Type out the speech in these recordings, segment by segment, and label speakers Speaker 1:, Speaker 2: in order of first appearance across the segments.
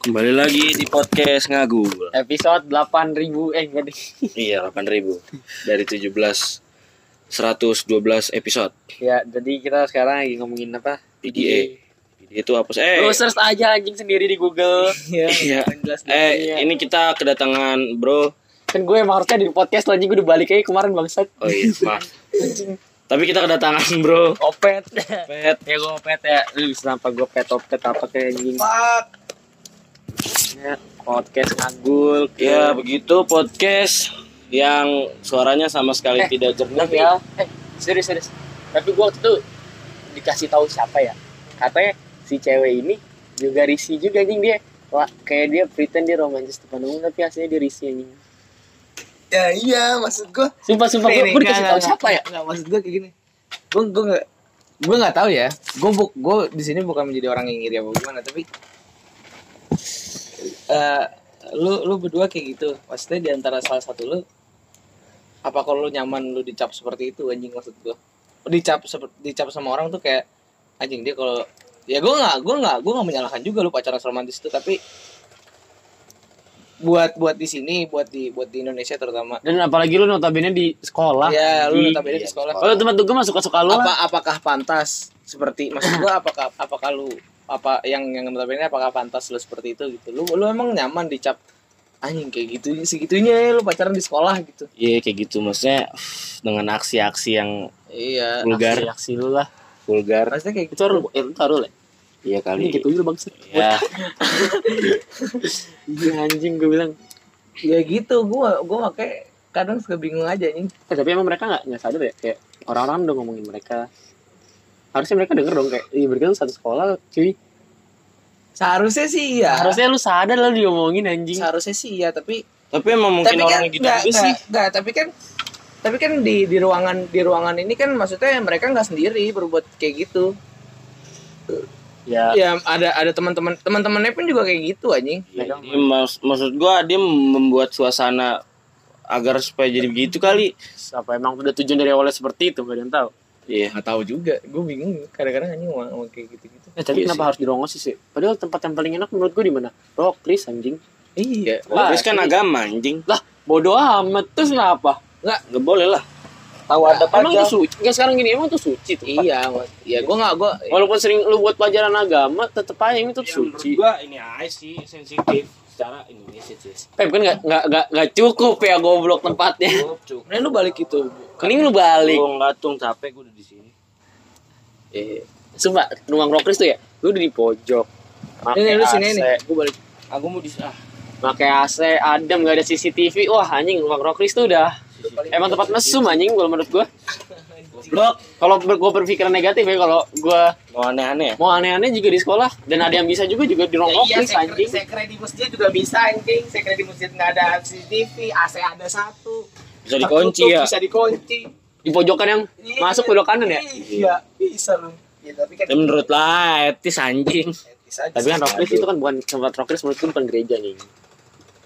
Speaker 1: Kembali lagi di podcast ngagul.
Speaker 2: Episode 8000 eh enggak deh.
Speaker 1: Iya, 8000. Dari 17 112 episode.
Speaker 2: Ya, jadi kita sekarang lagi ngomongin apa?
Speaker 1: PDA. Itu apa sih? Eh,
Speaker 2: Lu search aja anjing sendiri di Google.
Speaker 1: Iya.
Speaker 2: yang jelas
Speaker 1: eh
Speaker 2: dunia.
Speaker 1: ini kita kedatangan bro.
Speaker 2: Kan gue emang harusnya di podcast lo anjing gue udah balik aja kemarin bangsat.
Speaker 1: Oh iya, maaf. Tapi kita kedatangan bro.
Speaker 2: Opet.
Speaker 1: Pet.
Speaker 2: ya gue opet ya. Lu kenapa gue pet opet apa kayak anjing. Ya, podcast ngagul.
Speaker 1: Ya
Speaker 2: Iya.
Speaker 1: begitu podcast yang suaranya sama sekali
Speaker 2: Eh,
Speaker 1: tidak jernih.
Speaker 2: Tapi ya, eh serius serius. Tapi gue waktu itu dikasih tahu siapa ya? Katanya si cewek ini juga risih juga anjing dia. Wah, kayak dia pretend dia romantis depan umum tapi aslinya dia risih anjing.
Speaker 3: Ya iya maksud gua
Speaker 2: Sumpah sumpah gue
Speaker 3: Nih, nih,
Speaker 2: gue dikasih
Speaker 3: nggak,
Speaker 2: tahu
Speaker 3: nggak,
Speaker 2: siapa ya?
Speaker 3: nggak maksud gua kayak gini. Gua gua nggak gua nggak tahu ya. Gua bu, gua di sini bukan menjadi orang yang iri apa gimana tapi eh lu lu berdua kayak gitu. Maksudnya di antara salah satu lu apa kalau lu nyaman lu dicap seperti itu anjing maksud gua. Dicap seperti dicap sama orang tuh kayak anjing dia kalau ya gua nggak gua nggak gua nggak menyalahkan juga lu pacaran romantis itu tapi buat buat di sini buat di buat di Indonesia terutama
Speaker 2: Dan apalagi lu notabene di sekolah.
Speaker 3: Iya, lu
Speaker 2: anjing.
Speaker 3: notabene di sekolah.
Speaker 2: Kalau Oh, tempat gue masuk suka suka lu
Speaker 3: apa
Speaker 2: lah.
Speaker 3: apakah pantas seperti maksud gua apakah apakah lu apa yang yang notabene apakah pantas lu seperti itu gitu. Lu lu emang nyaman dicap anjing kayak gitu segitunya ya lu pacaran di sekolah gitu.
Speaker 1: Iya kayak gitu maksudnya dengan aksi-aksi yang
Speaker 3: Iya.
Speaker 1: vulgar,
Speaker 2: Reaksi lu lah.
Speaker 1: vulgar.
Speaker 3: Maksudnya kayak gitu.
Speaker 2: Itu harus itu harus lah.
Speaker 1: Iya
Speaker 2: Ini
Speaker 1: kali.
Speaker 2: gitu lu bangsat.
Speaker 1: Ya,
Speaker 2: Iya anjing gue bilang.
Speaker 3: Ya gitu gua gua makanya kadang suka bingung aja anjing.
Speaker 2: Eh, tapi emang mereka nggak nggak sadar ya kayak orang-orang udah ngomongin mereka harusnya mereka denger dong kayak iya berarti lu satu sekolah cuy
Speaker 3: Seharusnya sih iya.
Speaker 2: harusnya lu sadar lah diomongin anjing
Speaker 3: Seharusnya sih iya, tapi
Speaker 1: tapi emang mungkin
Speaker 3: tapi kan
Speaker 1: orang gitu
Speaker 3: enggak,
Speaker 1: juga sih.
Speaker 3: enggak, enggak, tapi kan tapi kan di di ruangan di ruangan ini kan maksudnya mereka nggak sendiri berbuat kayak gitu.
Speaker 2: ya
Speaker 3: ya ada ada teman-teman teman-temannya pun juga kayak gitu anjing
Speaker 1: Ya, jadi mas- maksud gua dia membuat suasana agar supaya jadi begitu kali.
Speaker 2: apa emang udah tujuan dari awalnya seperti itu gak ada yang tahu
Speaker 1: Iya.
Speaker 3: nggak tahu juga gue bingung kadang-kadang anjing mau, mau kayak gitu gitu
Speaker 2: eh, tapi
Speaker 1: Iya
Speaker 2: kenapa
Speaker 1: sih.
Speaker 2: harus dirongos sih padahal tempat yang paling enak menurut gue di mana rock Chris anjing
Speaker 3: iya
Speaker 1: Wah, Terus kan agama anjing.
Speaker 2: lah bodoh amat terus kenapa
Speaker 1: Gak boleh lah.
Speaker 3: tahu ada
Speaker 2: emang itu suci nggak sekarang gini emang itu suci tuh
Speaker 3: iya mas- iya gue nggak gue
Speaker 2: walaupun sering lu buat pelajaran agama tetep aja ini
Speaker 3: Iya,
Speaker 2: tetep suci
Speaker 1: gua ini aja sih sensitif secara Indonesia sih.
Speaker 2: Pep kan nggak nggak nggak nggak cukup ya goblok tempatnya
Speaker 1: Cukup.
Speaker 3: nah lu balik itu
Speaker 2: Mending lu balik
Speaker 1: Gua ngatung capek gua udah di sini.
Speaker 2: Eh,
Speaker 3: Iya.
Speaker 2: Sumpah, nuang rockers tuh ya, lu udah di pojok. Pakai
Speaker 3: ini lu
Speaker 2: AC,
Speaker 3: sini nih gue balik
Speaker 1: Aku mau di ah.
Speaker 2: pakai AC, adem, gak ada CCTV. Wah, anjing, nuang rockers tuh udah emang tempat mesum
Speaker 3: gitu.
Speaker 2: anjing kalau menurut gua.
Speaker 1: Blok.
Speaker 2: Kalau ber, gua berpikiran negatif ya kalau gua
Speaker 1: Mau aneh-aneh ya?
Speaker 2: mau aneh-aneh juga di sekolah dan ada yang bisa juga juga
Speaker 1: Iya,
Speaker 2: di nuang rockers Oh, anjing.
Speaker 3: Iya, sekre di masjid juga bisa anjing sekre di masjid nggak ada CCTv AC ada satu
Speaker 1: Bisa dikunci ya.
Speaker 3: dikunci
Speaker 2: Di pojokan yang
Speaker 1: Iya,
Speaker 2: masuk belok kanan ya.
Speaker 3: iya bisa lu ya tapi kan
Speaker 1: Ya, menurut lah etis anjing.
Speaker 2: Tapi kan rockers itu kan bukan tempat rockers menurut gua bukan gereja nih.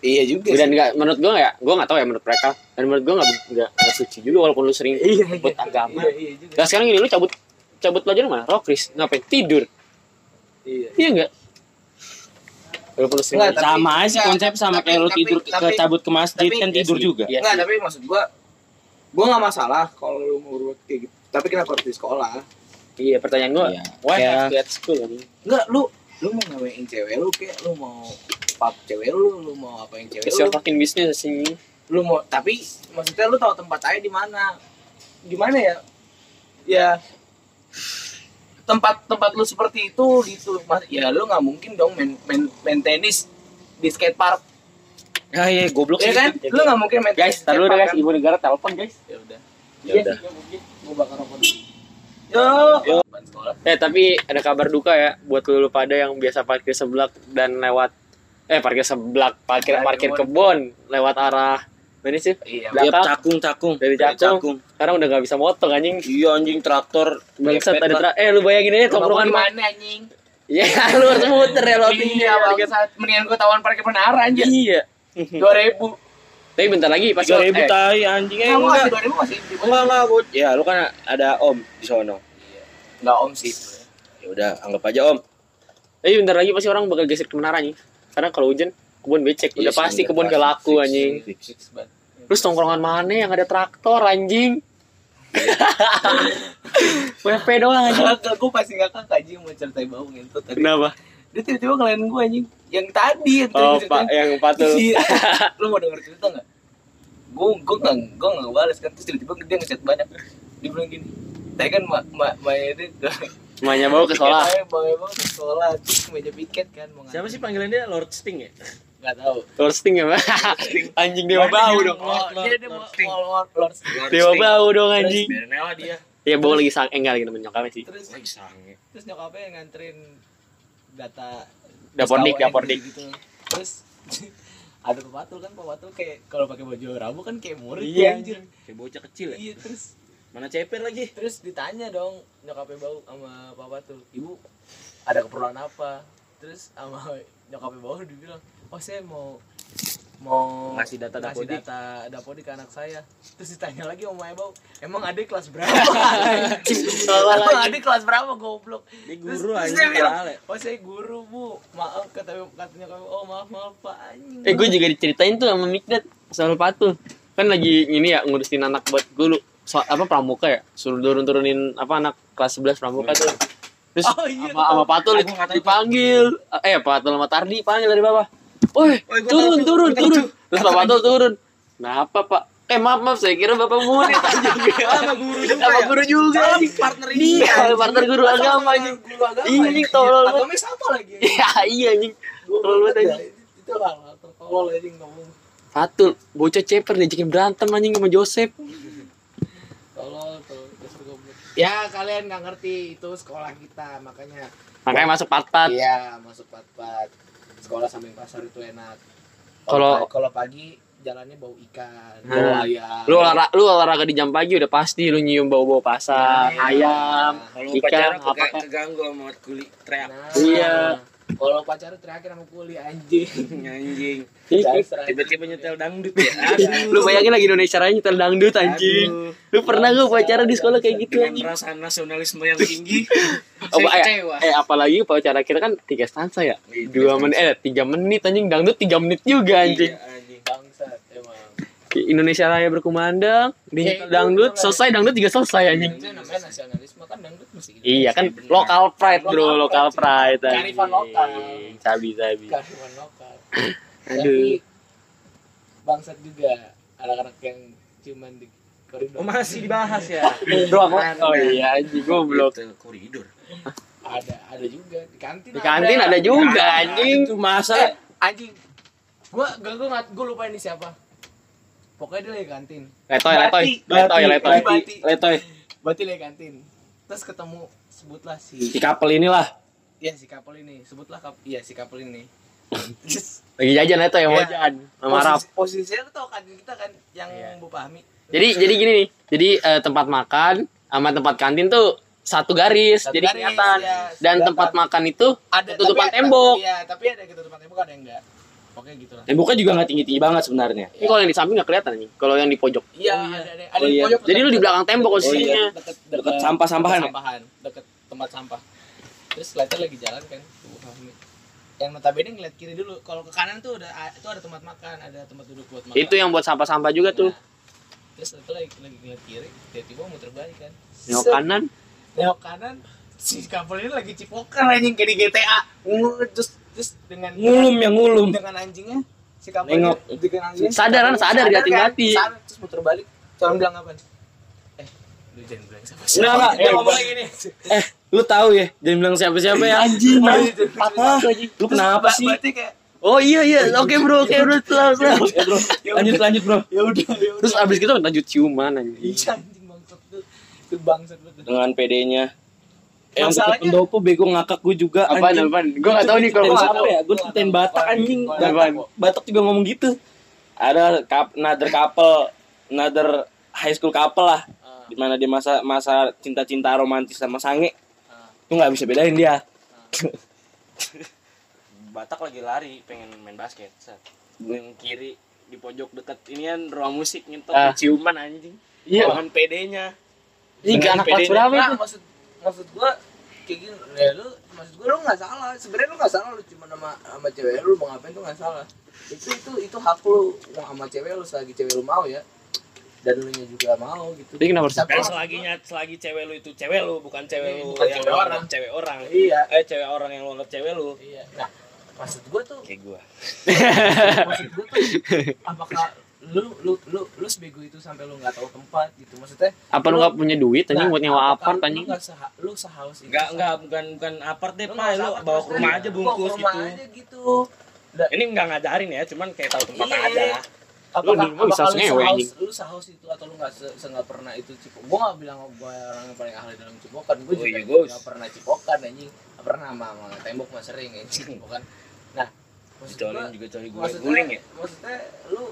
Speaker 3: iya juga
Speaker 2: Dan nggak menurut gua ya, gua nggak tahu ya menurut mereka. Dan menurut gua nggak nggak nggak suci juga walaupun lu sering
Speaker 1: iya.
Speaker 2: buat agama.
Speaker 3: iya juga
Speaker 2: Nah sekarang gini lu cabut cabut pelajaran mana? Rokris ngapain? Tidur.
Speaker 3: iya
Speaker 2: Iya enggak? Walaupun lu sering
Speaker 3: Nggak, tapi-
Speaker 1: sama aja sih
Speaker 3: enggak,
Speaker 1: konsep sama
Speaker 3: tapi-
Speaker 1: kayak lu
Speaker 3: tapi-
Speaker 1: tidur ke-
Speaker 3: tapi-
Speaker 1: cabut ke masjid
Speaker 3: tapi-
Speaker 1: kan
Speaker 2: Iya
Speaker 1: tidur
Speaker 2: sih,
Speaker 1: juga.
Speaker 2: Iya.
Speaker 3: Enggak,
Speaker 2: sih.
Speaker 3: tapi maksud gua gua nggak masalah kalau lu ngurut kayak gitu. Tapi kenapa harus di sekolah?
Speaker 2: Iya pertanyaan gua.
Speaker 1: Iya.
Speaker 2: Why
Speaker 1: Iya.
Speaker 2: have to at school ini?
Speaker 3: Enggak, lu lu mau ngewein cewek lu kayak lu mau pap cewek lu, lu mau apain cewek
Speaker 2: It's your
Speaker 3: lu,
Speaker 2: fucking business sih.
Speaker 3: lu mau tapi maksudnya lu tahu tempat aja di mana? Gimana ya? Ya tempat tempat lu seperti itu gitu Mas, ya lu nggak mungkin dong main main, main tenis di skatepark
Speaker 1: Ya ya goblok
Speaker 2: Iya
Speaker 3: ya kan lu nggak mungkin main
Speaker 2: Guys,
Speaker 3: tenis di
Speaker 2: tar dulu deh, guys,
Speaker 3: skatepark,
Speaker 2: ibu negara telepon guys.
Speaker 3: kan? ya udah
Speaker 1: Ya
Speaker 3: Iya
Speaker 1: udah.
Speaker 3: sih, nggak mungkin. gua bakar rokok dulu. yo Apaan sekolah
Speaker 2: Eh tapi ada kabar duka ya buat lu pada yang biasa parkir seblak dan lewat eh parkir seblak, parkir
Speaker 3: Parkir
Speaker 2: parkir kebun lewat arah mana sih?
Speaker 1: Iya,
Speaker 3: Iya,
Speaker 2: Belakang.
Speaker 1: cakung cakung.
Speaker 2: Dari cakung. Sekarang udah nggak bisa motong anjing.
Speaker 1: Iya anjing traktor.
Speaker 2: Bangsat
Speaker 1: Ngepet,
Speaker 2: ada
Speaker 1: Pak.
Speaker 2: tra- eh lu bayangin aja
Speaker 3: tongkrongan
Speaker 2: tongkrongan mah.
Speaker 3: mana anjing?
Speaker 2: Ya lu harus muter ya lo
Speaker 3: Iya, bangsat. Mendingan gua tawon parkir menara anjir.
Speaker 2: Iya.
Speaker 3: 2000.
Speaker 2: Tapi bentar lagi pas
Speaker 1: tiga
Speaker 2: lo-
Speaker 1: ribu
Speaker 2: eh,
Speaker 1: tai anjing eh,
Speaker 3: Kamu
Speaker 1: enggak
Speaker 3: masih 2000 masih di
Speaker 1: enggak enggak gua- ya lu kan ada om di sono
Speaker 3: Enggak om sih.
Speaker 1: ya udah anggap aja om
Speaker 2: Tapi bentar lagi pasti orang bakal geser ke menara nih. karena kalau hujan kebun becek
Speaker 3: Iya
Speaker 2: udah
Speaker 3: sih,
Speaker 2: pasti
Speaker 3: udah
Speaker 2: kebun gak
Speaker 3: pasti.
Speaker 2: laku
Speaker 3: Fix,
Speaker 2: anjing
Speaker 3: fix, fix banget.
Speaker 2: terus tongkrongan mana yang ada traktor anjing WP doang anjing
Speaker 3: Kagak, gue pasti ngakak anjing mau ceritain bau ngentut tadi.
Speaker 2: kenapa
Speaker 3: Dia tiba-tiba ngelain gue anjing. Yang tadi yang tadi
Speaker 1: Oh,
Speaker 3: gua ceritain.
Speaker 1: Pak, yang patul.
Speaker 3: Iya. lu mau denger cerita nggak? Gue gue nggak gue nggak balas kan terus tiba-tiba dia ngechat banyak. Dia bilang gini, tadi kan mak mak mak ini ke
Speaker 1: Semuanya bawa ke sekolah.
Speaker 3: bawa bawa ke sekolah terus ke meja piket kan mau
Speaker 4: Siapa sih panggilan dia Lord Sting ya?
Speaker 3: Gak tahu.
Speaker 2: Roasting ya Pak? anjing dewa bau dong
Speaker 3: Oh, dia dia mau mau mau keluar sekolah.
Speaker 2: dewa bau dong anjing
Speaker 4: Bernel dia.
Speaker 2: ya bau lagi sang enggak lagi nemen nyokapnya sih
Speaker 3: Terus
Speaker 4: Lagi
Speaker 1: ya.
Speaker 4: sange.
Speaker 3: terus nyokapnya yang nganterin data
Speaker 2: Dapordik,
Speaker 3: SKWN
Speaker 2: dapordik.
Speaker 3: gitu. Terus ada Pak Patul kan Pak Patul kayak kalau pakai baju rabu kan kayak murid
Speaker 2: Iya,
Speaker 3: ya, anjir.
Speaker 4: Kayak bocah kecil ya.
Speaker 3: Iya terus
Speaker 4: Mana ceper lagi?
Speaker 3: terus ditanya dong nyokapnya bau sama papa tuh ibu ada keperluan apa terus sama nyokapnya bau dibilang oh saya mau mau
Speaker 4: Ngasih data
Speaker 3: ngasih
Speaker 4: Dapodik.
Speaker 3: data dapodik ke anak saya terus ditanya lagi sama Maya bau emang adik kelas berapa emang adik kelas berapa goblok
Speaker 4: Dia guru
Speaker 3: Terus- terus
Speaker 4: anjing
Speaker 3: dia bilang,
Speaker 4: kepala.
Speaker 3: oh saya guru bu maaf kata katanya kamu oh maaf maaf pak anjing
Speaker 2: eh gue juga diceritain tuh sama Mikdat soal patul kan lagi ini ya ngurusin anak buat gue lu so- apa pramuka ya suruh turun turunin apa anak kelas 11 pramuka tuh terus
Speaker 3: Oh, iya,
Speaker 2: sama, sama patul
Speaker 4: Aku ngatain
Speaker 2: dipanggil eh patul sama tardi panggil dari bawah woi
Speaker 4: Woi, gua
Speaker 2: turun
Speaker 4: tahu,
Speaker 2: turun
Speaker 4: gua tahu.
Speaker 2: turun terus Pak patul turun kenapa pak eh maaf maaf saya kira bapak murid
Speaker 4: Sama guru juga.
Speaker 2: sama
Speaker 4: ya?
Speaker 2: guru juga
Speaker 4: Sama
Speaker 2: anjing.
Speaker 4: partner ini.
Speaker 2: Iya,
Speaker 4: anjing.
Speaker 2: partner guru agama anjing.
Speaker 3: guru agama
Speaker 2: Iya, anjing, tolol.
Speaker 3: agamanya sama lagi
Speaker 2: Iya, iya anjing. Tolol
Speaker 3: Gua
Speaker 2: banget
Speaker 3: banget
Speaker 2: anjing.
Speaker 3: dah. itu hal tertolol anjing ngomong
Speaker 2: Patul, bocah ceper diajakin berantem anjing sama Joseph.
Speaker 3: tolol tolol dasar goblok ya kalian nggak ngerti itu sekolah kita makanya
Speaker 2: Makanya masuk pat-pat.
Speaker 3: iya masuk pat pat sekolah samping pasar itu enak
Speaker 2: Kalau-
Speaker 3: pa- kalau pagi jalannya bau ikan
Speaker 2: Nah.
Speaker 3: bau ayam
Speaker 2: Lu olah- lu olahraga di jam pagi udah pasti lu nyium bau-bau pasar,
Speaker 4: Iya,
Speaker 3: Nah,
Speaker 2: ayam,
Speaker 4: Kalau
Speaker 2: ikan,
Speaker 4: pacaran
Speaker 2: apa
Speaker 4: kega- keganggu sama kulit teriak
Speaker 3: Nah.
Speaker 2: Iya.
Speaker 3: kalau pacar terakhir sama kuli anjing
Speaker 4: anjing.
Speaker 2: Iya.
Speaker 4: Iya.
Speaker 3: Dasar anjing.
Speaker 4: Tiba-tiba nyetel dangdut ya. Aduh.
Speaker 2: Lu bayangin lagi Indonesia Raya nyetel dangdut anjing.
Speaker 4: Aduh.
Speaker 2: Lu pernah gak pacaran di sekolah kayak gitu
Speaker 4: Dengan
Speaker 2: anjing?
Speaker 4: perasaan nasionalisme yang tinggi.
Speaker 2: Oh,
Speaker 4: saya
Speaker 2: eh,
Speaker 4: kecewa.
Speaker 2: eh, apalagi pacaran kita kan tiga stansa ya.
Speaker 4: Iya, tiga
Speaker 2: Dua menit, eh tiga menit anjing dangdut tiga menit juga anjing.
Speaker 4: Iya, anjing.
Speaker 3: bangsat emang
Speaker 2: Indonesia Raya berkumandang,
Speaker 4: Iya,
Speaker 2: di
Speaker 3: Eh, itu-
Speaker 2: dangdut
Speaker 3: itu lah.
Speaker 2: selesai dangdut juga selesai anjing.
Speaker 3: itu namanya nasionalisme kan dangdut mesti
Speaker 2: Iya kan
Speaker 4: Bener.
Speaker 2: lokal pride bro,
Speaker 3: Lokal
Speaker 2: lokal pride.
Speaker 3: pride. Kearifan lokal.
Speaker 2: Sabi sabi.
Speaker 3: kearifan lokal.
Speaker 2: Aduh.
Speaker 3: Tapi bangsat juga anak-anak yang cuman di koridor.
Speaker 4: Oh, masih dibahas ya.
Speaker 2: Bro aku oh iya anjing goblok.
Speaker 4: Itu koridor.
Speaker 3: Ada ada juga di kantin.
Speaker 2: Di kantin ada juga
Speaker 4: Itu
Speaker 2: anjing.
Speaker 3: Eh,
Speaker 4: masa
Speaker 3: anjing. Gua gak gua ngat gua lupain di siapa. Pokoknya dia lagi kantin.
Speaker 2: Letoy letoy letoy
Speaker 4: Bati,
Speaker 2: letoy
Speaker 3: Bati.
Speaker 2: letoy.
Speaker 3: Berarti lagi kantin. Terus ketemu sebutlah
Speaker 2: Si
Speaker 3: si
Speaker 2: couple inilah
Speaker 3: ya si kapel ini, sebutlah kap ya si kapel ini. Terus
Speaker 2: lagi jajan letoy yang
Speaker 3: Iya.
Speaker 2: jajan sama Arab.
Speaker 3: posisi- posisinya lu tau kantin kita kan yang
Speaker 4: Iya.
Speaker 3: Bu Fahmi.
Speaker 2: Jadi jadi gini nih. Jadi eh, tempat makan sama tempat kantin tuh satu garis
Speaker 3: Satu
Speaker 2: jadi
Speaker 3: garis,
Speaker 2: kelihatan.
Speaker 3: iya,
Speaker 2: Dan
Speaker 3: kelihatan.
Speaker 2: tempat makan itu
Speaker 3: ada
Speaker 2: Ketutupan
Speaker 3: tapi-
Speaker 2: tembok.
Speaker 3: Iya, tapi ada ketutupan tembok ada yang enggak. Pokoknya gitu lah.
Speaker 1: Temboknya juga nggak tinggi-tinggi banget sebenarnya.
Speaker 2: ini kalau yang di samping nggak kelihatan nih. Kalau yang di pojok.
Speaker 3: Iya,
Speaker 4: Oh, iya.
Speaker 3: ada ada ada
Speaker 1: Oh,
Speaker 3: di
Speaker 1: iya.
Speaker 3: pojok.
Speaker 2: Jadi lu di belakang tembok
Speaker 3: deket-
Speaker 2: posisinya.
Speaker 3: deket
Speaker 1: Deket sampah-sampahan
Speaker 3: deket
Speaker 1: ya?
Speaker 3: sampahan, deket tempat sampah. Terus later lagi jalan kan, tuh Fahmi. Yang notabene ngeliat kiri dulu. Kalau ke kanan tuh udah ah, itu ada tempat makan, ada tempat duduk buat makan.
Speaker 2: Itu yang buat sampah-sampah juga
Speaker 3: Nah,
Speaker 2: tuh.
Speaker 3: Terus later lagi, lagi ngeliat kiri, tiba-tiba muter balik kan.
Speaker 2: Nengok
Speaker 3: Set,
Speaker 2: kanan
Speaker 3: Nengok kanan, si kapal ini lagi cipokan anjing kayak di GTA. Ngut, Terus terus dengan
Speaker 1: Ngulum ya ngulum.
Speaker 3: dengan anjingnya si kapal
Speaker 1: Nengok.
Speaker 3: dengan anjingnya si
Speaker 2: Sadar kan,
Speaker 3: kapalnya
Speaker 2: sadar,
Speaker 3: kan,
Speaker 2: hati-hati.
Speaker 3: sadar, terus muter balik calon bilang apa eh lu jangan bilang siapa siapa
Speaker 1: Enggak, enggak, eh,
Speaker 3: Dia ngomong lagi nih
Speaker 1: Eh, lu tahu ya? Jangan bilang siapa-siapa ya. Anjing. Apa? Lu kenapa
Speaker 3: Ba-
Speaker 1: sih?
Speaker 3: berarti kayak
Speaker 2: Oh iya iya, oke bro, oke bro, selalu selalu.
Speaker 1: Lanjut lanjut, Bro.
Speaker 3: ya udah ya udah
Speaker 2: Terus abis itu lanjut ciuman anjing.
Speaker 3: Iya, anjing bangsat tuh itu bangsat betul
Speaker 1: Dengan PD-nya.
Speaker 3: Yang
Speaker 1: Yang
Speaker 3: deket
Speaker 1: deket pendopo bego ngakak gue juga
Speaker 2: Apaan apaan? Gue nggak tahu nih kalau
Speaker 1: Ceritain
Speaker 2: masalah.
Speaker 1: apa ya? Gue ceritain Batak anjing.
Speaker 3: Apaan?
Speaker 1: Batak, Batak juga ngomong gitu. Ada kap, another couple, another high school couple lah.
Speaker 3: Ah,
Speaker 1: Di mana dia masa masa cinta-cinta romantis sama sange.
Speaker 3: ah.
Speaker 1: Lu nggak bisa bedain dia. Batak lagi lari pengen main basket. Set. Yang kiri di pojok deket ini kan ruang musik nyentuh
Speaker 2: Ah.
Speaker 1: ciuman anjing.
Speaker 2: Iya.
Speaker 1: Dengan PD-nya.
Speaker 2: Ini
Speaker 1: Dengan
Speaker 2: anak kelas
Speaker 1: PD-nya.
Speaker 2: berapa
Speaker 3: nah
Speaker 2: itu?
Speaker 3: maksud maksud gua kayak gini ya lu maksud gue lu nggak salah sebenarnya lu nggak salah lu cuma sama sama cewek lu mau ngapain tuh nggak salah itu itu itu hak lu mau sama cewek lu selagi cewek lu mau ya dan lu nya juga mau gitu
Speaker 2: Jadi kenapa harus
Speaker 3: Tapi
Speaker 1: Dan
Speaker 3: maksud
Speaker 1: selagi
Speaker 3: gua-
Speaker 1: selagi cewek lu itu cewek lu, bukan cewek lu
Speaker 3: Bukan
Speaker 1: yang
Speaker 3: cewek
Speaker 1: lu
Speaker 3: orang.
Speaker 1: anggap cewek orang.
Speaker 3: iya
Speaker 1: Eh cewek orang yang lu anggap cewek lu.
Speaker 3: iya nah maksud gue tuh
Speaker 1: Kayak gua.
Speaker 3: maksud gue tuh apakah lu lu lu lu sebego itu sampai lu nggak tahu tempat gitu maksudnya
Speaker 2: apa lu nggak punya duit anjing
Speaker 3: Nah,
Speaker 2: buat nyewa apart
Speaker 3: apakah lu
Speaker 2: anjing
Speaker 3: nggak seha- lu sehaus itu
Speaker 1: Enggak enggak bukan bukan apart deh,
Speaker 3: Lu
Speaker 1: Pak.
Speaker 3: nggak
Speaker 1: Lu bawa
Speaker 3: salah,
Speaker 1: ke
Speaker 3: maksudnya.
Speaker 1: rumah aja
Speaker 3: Bawa ke
Speaker 1: bungkus
Speaker 3: rumah
Speaker 1: gitu.
Speaker 3: aja gitu
Speaker 1: Ini enggak ngajarin ya, cuman kayak tahu tempat
Speaker 3: Iya.
Speaker 1: aja.
Speaker 2: Lu di
Speaker 3: apakah,
Speaker 2: rumah bisa
Speaker 3: apakah lu
Speaker 2: sengewe,
Speaker 3: sehaus
Speaker 2: anjing.
Speaker 3: lu sehaus itu atau lu nggak se, se nggak pernah itu cipok gua nggak bilang gua orang yang paling ahli dalam cipokan gua
Speaker 1: Oh,
Speaker 3: juga
Speaker 1: iya, Gus.
Speaker 3: nggak pernah cipokan anjing nggak pernah sama, sama tembok mah sering anjing cipokan nah maksud gua
Speaker 1: Dicolin juga coli gue
Speaker 3: maksudnya
Speaker 1: guling ya.
Speaker 3: maksudnya lu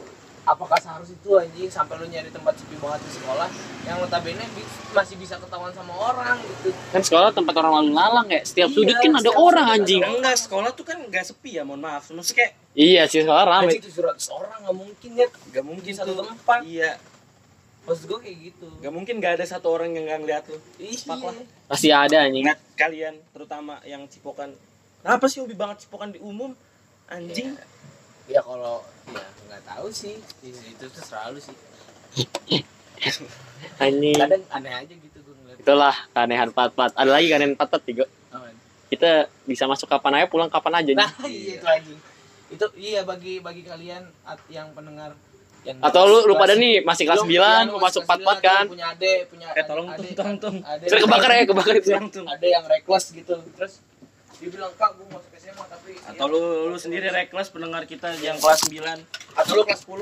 Speaker 3: apakah seharus itu anjing sampai lu nyari tempat sepi banget di sekolah yang notabene bi- masih bisa ketahuan sama orang gitu
Speaker 2: kan sekolah tempat orang lalu lalang kayak setiap
Speaker 3: Iya,
Speaker 2: sudut kan ada
Speaker 3: setiap
Speaker 2: orang
Speaker 3: sudut ada
Speaker 2: anjing
Speaker 3: orang.
Speaker 1: Enggak, sekolah tuh kan enggak sepi ya, mohon maaf. Maksudnya kayak
Speaker 2: iya sih sekolah rame
Speaker 3: itu 700 orang nggak mungkin ya
Speaker 1: enggak
Speaker 2: Gitu.
Speaker 1: mungkin
Speaker 3: satu
Speaker 1: tuh.
Speaker 3: tempat
Speaker 1: Iya,
Speaker 3: maksud gua kayak gitu
Speaker 1: enggak mungkin enggak ada satu orang yang enggak ngeliat lu.
Speaker 3: iya
Speaker 1: Pak lah.
Speaker 2: pasti ada anjing
Speaker 1: Ingat kalian, terutama yang cipokan. Kenapa sih hobi banget cipokan di umum? Anjing.
Speaker 3: ya kalau ya nggak tahu sih itu, itu tuh selalu sih
Speaker 2: anjing
Speaker 3: kadang aneh aja gitu gue ngeliat
Speaker 2: itulah keanehan pat pat ada lagi keanehan pat pat tiga
Speaker 3: Aman.
Speaker 2: kita bisa masuk kapan aja pulang kapan aja
Speaker 3: nah
Speaker 2: anjing.
Speaker 3: iya itu anjing itu iya bagi bagi kalian at- yang pendengar yang
Speaker 2: atau lu lu pada
Speaker 3: kelas-
Speaker 2: nih masih kelas
Speaker 3: lu-
Speaker 2: 9
Speaker 3: iya, lu
Speaker 2: mau
Speaker 3: masih
Speaker 2: masuk
Speaker 3: kelas
Speaker 2: pat pat
Speaker 3: 9,
Speaker 2: kan
Speaker 3: lu punya ade punya
Speaker 1: Eh tolong tung
Speaker 3: ade-
Speaker 1: tolong tung.
Speaker 3: ade-
Speaker 2: Sudah kebakar ya kebakar itu
Speaker 1: Tolong tung.
Speaker 3: ada yang reckless gitu terus dia bilang kak gue masuk SMA tapi iya."
Speaker 1: Atau lu lu sendiri reckless pendengar kita yang kelas 9.
Speaker 3: atau lu kelas 10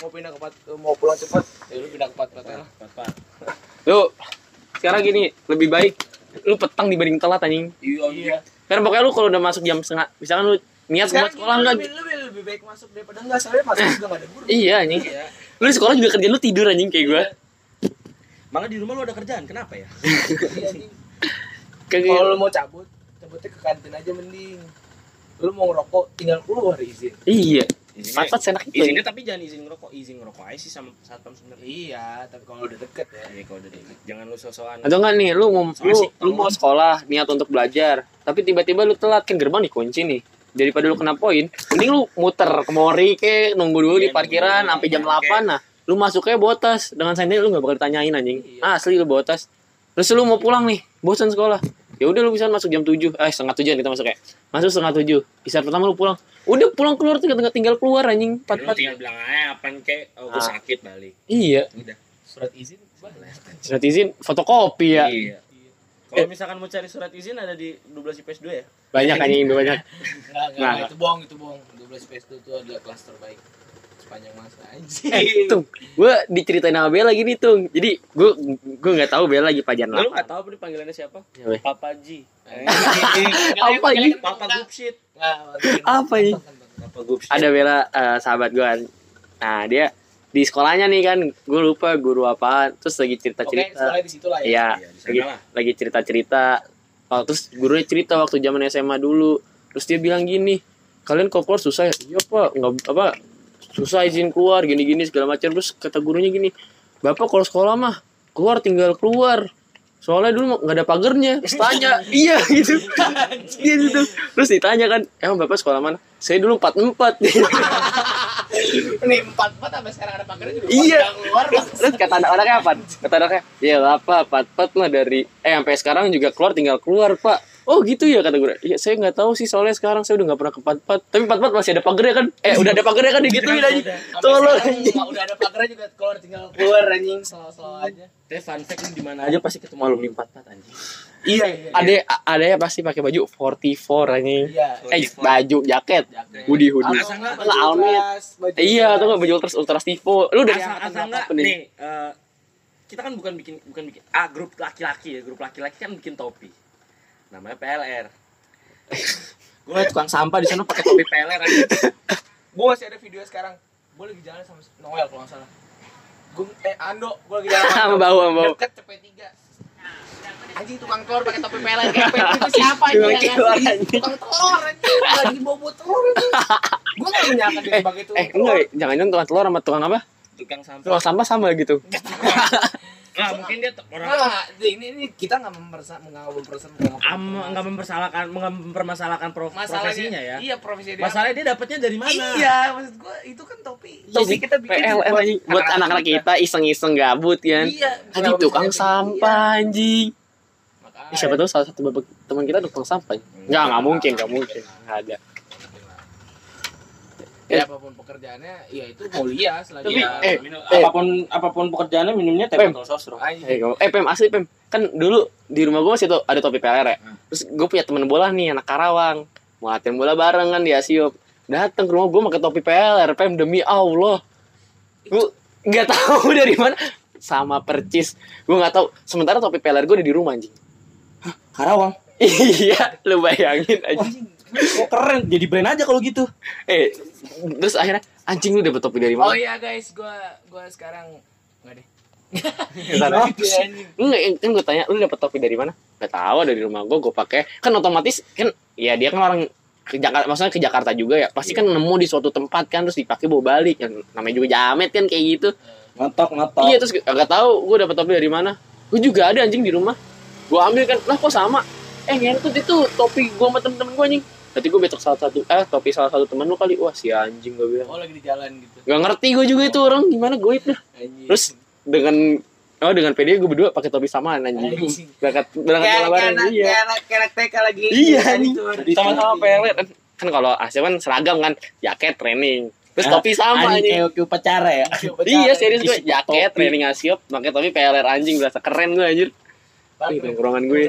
Speaker 3: mau pindah ke pat mau pulang cepat ya lu pindah ke pat pat
Speaker 2: Iya.
Speaker 3: lah
Speaker 1: Bapak.
Speaker 2: lu sekarang gini lebih baik lu petang dibanding telat anjing
Speaker 1: Iya.
Speaker 2: karena pokoknya lu kalau udah masuk jam setengah misalkan lu niat mau
Speaker 3: sekarang
Speaker 2: sekolah
Speaker 3: gini,
Speaker 2: enggak
Speaker 3: lebih, lebih, lebih baik masuk daripada enggak soalnya masuk juga nggak ada guru
Speaker 2: iya anjing
Speaker 1: Iya.
Speaker 2: lu di sekolah juga kerja lu tidur anjing kayak gue
Speaker 1: Mangga di rumah lu ada kerjaan, kenapa ya?
Speaker 3: Iya, anjing.
Speaker 2: kayak
Speaker 3: kalau lu mau cabut cabutnya ke kantin aja mending lu mau ngerokok tinggal keluar izin
Speaker 2: iya
Speaker 1: Izinnya,
Speaker 2: pat pat senak itu
Speaker 1: izinnya
Speaker 2: anjing.
Speaker 1: tapi jangan izin ngerokok, izin ngerokok aja sih sama satpam sebenarnya.
Speaker 3: iya tapi kalau udah deket ya
Speaker 1: Iya kalau udah deket. jangan lu sosokan.
Speaker 2: atau enggak nih lu mau
Speaker 1: Sama
Speaker 2: lu,
Speaker 1: sih,
Speaker 2: lu mau sekolah niat untuk belajar tapi tiba-tiba lu telat kan gerbang dikunci nih daripada lu kena poin mending lu muter ke mori ke nunggu dulu
Speaker 1: Iya,
Speaker 2: di parkiran
Speaker 1: nunggu.
Speaker 2: sampai jam
Speaker 1: Oke.
Speaker 2: 8 nah lu masuknya botas dengan sendiri lu nggak bakal ditanyain anjing
Speaker 3: Iya.
Speaker 2: asli lu botas terus lu mau pulang nih bosan sekolah ya udah lu bisa masuk jam 7 eh setengah tujuan kita masuk ya masuk setengah tujuh istirahat pertama lu pulang udah pulang keluar tinggal tinggal keluar anjing
Speaker 1: Lu
Speaker 2: pat pat
Speaker 1: tinggal bilang aja apaan kek, oh, gua
Speaker 2: Ah.
Speaker 1: sakit balik.
Speaker 2: iya
Speaker 1: Udah.
Speaker 3: surat izin banyak
Speaker 2: surat izin fotokopi ya
Speaker 1: Iya. Kalau misalkan mau cari surat izin ada di 12 IPS 2 ya?
Speaker 2: banyak anjing banyak
Speaker 3: enggak enggak,
Speaker 2: Nah.
Speaker 3: enggak, itu bohong itu bohong 12 PS itu tuh adalah kelas terbaik sepanjang masa anjing
Speaker 1: Iya.
Speaker 2: Eh, Tung, gue diceritain sama Bella gini, Tung. Jadi, gue gue nggak tahu Bella lagi pajan
Speaker 1: Lu
Speaker 2: apa.
Speaker 1: nggak tahu apa nih panggilannya siapa?
Speaker 2: Ya, weh.
Speaker 1: Papa G.
Speaker 2: Apa ini?
Speaker 1: Papa Gupsit.
Speaker 3: Nah,
Speaker 2: Apa ini?
Speaker 1: Papa Gupsit.
Speaker 2: Ada Bella eh, sahabat gue. Nah, dia di sekolahnya nih kan, gue lupa guru apa. Terus lagi
Speaker 3: oke
Speaker 2: cerita-cerita.
Speaker 3: sekolah di situ lah ya
Speaker 2: Iya,
Speaker 1: Iya, di sana
Speaker 2: lagi,
Speaker 1: lah.
Speaker 2: lagi cerita-cerita. Oh, terus gurunya cerita waktu zaman SMA dulu. Terus dia bilang gini, kalian kok keluar susah ya? Iya, Pak. Nggak, apa, susah izin keluar, gini-gini segala macam. Terus kata gurunya gini, Bapak kalau sekolah mah, keluar tinggal keluar. Soalnya dulu nggak ada pagernya. Terus tanya, iya gitu. Dia gitu. Terus ditanya kan, emang Bapak sekolah mana? Saya dulu 44.
Speaker 3: nih empat empat sampai sekarang ada pagarnya juga
Speaker 2: Iya.
Speaker 3: nggak keluar
Speaker 2: terus, terus kata anak anaknya apa? Kata anaknya, ya apa, pat pat lah dari eh sampai sekarang juga keluar tinggal keluar pak. Oh gitu ya kata gue. Ya saya nggak tahu sih soalnya sekarang saya udah nggak pernah ke pat pat. Tapi pat pat masih ada pagernya kan? Eh udah ada pagernya kan digituin aja.
Speaker 3: Sampai
Speaker 2: Tolong.
Speaker 3: sekarang nggak- udah ada pagarnya juga keluar tinggal keluar anjing selalu selalu aja
Speaker 1: Tapi fun fact di mana aja pasti ketemu alumni 44 anjing.
Speaker 2: Iya. Ada ada ya pasti pakai baju 44 anjing.
Speaker 3: iya
Speaker 2: Eh baju jaket.
Speaker 3: Jaket.
Speaker 2: Hoodie hoodie.
Speaker 1: Atau enggak
Speaker 2: Lah, Almit. Nah, Iya, atau nggak baju ultras ultras tifo. Lu dari
Speaker 1: asal asal enggak
Speaker 2: apa nih?
Speaker 1: nih eh, kita kan bukan bikin bukan bikin ah grup laki-laki ya, grup laki-laki kan bikin topi. Namanya PLR.
Speaker 4: gue tukang sampah di sana pakai
Speaker 1: Topi PLR anjing.
Speaker 3: gue masih ada video sekarang gue lagi jalan sama Noel kalau nggak salah gue eh Ando gue lagi jalan
Speaker 2: Sama
Speaker 3: Ando.
Speaker 2: bau sama bau.
Speaker 3: deket CP3 anjing tukang telur pakai topi pelet kayak pelet itu siapa anjing
Speaker 2: Tukang
Speaker 3: yang
Speaker 2: telur,
Speaker 3: ngasih?
Speaker 2: anjing.
Speaker 3: tukang telur anjing lagi bobo telur anjing gue nggak menyangka dia
Speaker 2: Eh,
Speaker 3: sebagai itu
Speaker 2: eh enggak, jangan-jangan tukang telur sama tukang apa?
Speaker 1: Tukang sampah.
Speaker 2: Tukang sampah sama gitu.
Speaker 5: Nah, mungkin dia te- orang
Speaker 4: Nah, ini ini kita nggak mempersa nggak mempersa
Speaker 5: am nggak mempersalahkan nggak mempermasalahkan prof- profesinya ya.
Speaker 4: Iya profesi dia.
Speaker 5: Masalahnya dia dapatnya dari mana?
Speaker 4: Iya, maksud gua itu kan topi.
Speaker 3: Iya
Speaker 2: Jadi
Speaker 4: Topi kita bikin
Speaker 2: PLN anjing buat anak-anak kita iseng-iseng gabut kan.
Speaker 4: Iya.
Speaker 2: Anjing tukang sampah anjing.
Speaker 3: gitu? Makanya.
Speaker 2: Ih, siapa tahu salah satu babak teman kita tukang sampah. Enggak, enggak mungkin, enggak mungkin. Enggak ada.
Speaker 3: Ya, apapun pekerjaannya, ya itu mulia selagi
Speaker 2: Tapi,
Speaker 3: ya,
Speaker 2: eh,
Speaker 1: Minum-
Speaker 2: eh.
Speaker 1: apapun apapun pekerjaannya minumnya teh
Speaker 2: Pem.
Speaker 1: botol sosro.
Speaker 3: anjing.
Speaker 2: Eh, gua- eh, Pem, asli Pem. Kan dulu di rumah gue masih tuh ada topi PLR ya. Terus gue punya teman bola nih, anak Karawang. Mau latihan bola bareng kan di Asiop. Datang ke rumah gue pakai topi PLR, Pem demi Allah. Gue nggak tahu dari mana sama percis. Gue nggak tahu. Sementara topi PLR gue ada di rumah anjing.
Speaker 5: Karawang.
Speaker 2: iya, lu bayangin aja.
Speaker 5: Kok keren jadi brand aja kalau gitu.
Speaker 2: Eh, terus akhirnya anjing lu dapet topi dari
Speaker 3: Oh
Speaker 2: mana?
Speaker 3: iya guys, gua gua sekarang enggak deh.
Speaker 2: Ntar. Iya.
Speaker 3: gitu,
Speaker 2: Enggak, kan gue tanya lu dapet topi dari mana? Gak tahu dari rumah gue, gue pakai. Kan otomatis kan ya dia kan orang ke Jakarta, maksudnya ke Jakarta juga ya. Pasti kan nemu di suatu tempat kan terus dipakai bawa balik kan. Namanya juga jamet kan kayak gitu.
Speaker 5: Ngotok ngotok.
Speaker 2: Iya, terus gak tahu gue dapet topi dari mana. Gue juga ada anjing di rumah. Gue ambil kan, lah kok sama? Eh ngentut itu topi gue sama temen-temen gue anjing. Nanti gue besok salah satu, eh topi salah satu temen lu kali. Wah si anjing gue bilang.
Speaker 3: Oh lagi di jalan gitu.
Speaker 2: Gak ngerti gue juga itu orang gimana gue itu.
Speaker 3: Anjing.
Speaker 2: Terus dengan oh dengan PD gue berdua pakai topi samaan anjing.
Speaker 3: Anjing.
Speaker 2: Berangkat berangkat
Speaker 4: Kayak
Speaker 2: bola bareng.
Speaker 4: anak
Speaker 2: Iya.
Speaker 4: kayak anak- kayak anak TK lagi.
Speaker 2: Iya,
Speaker 4: Tadi
Speaker 2: anjing.
Speaker 4: tuh ada
Speaker 5: gitu.
Speaker 4: di-
Speaker 2: Sama-sama pelet. Kan kalau Asia kan seragam kan, jaket training. Terus topi sama
Speaker 5: Ah, Anjing
Speaker 2: anjing.
Speaker 5: kayak kayak upacara ya.
Speaker 2: Iya serius gue
Speaker 5: Isi
Speaker 2: jaket
Speaker 5: topi.
Speaker 2: training Asiop, pakai topi PLR anjing berasa keren gue anjir. Wih, tongkrongan gue.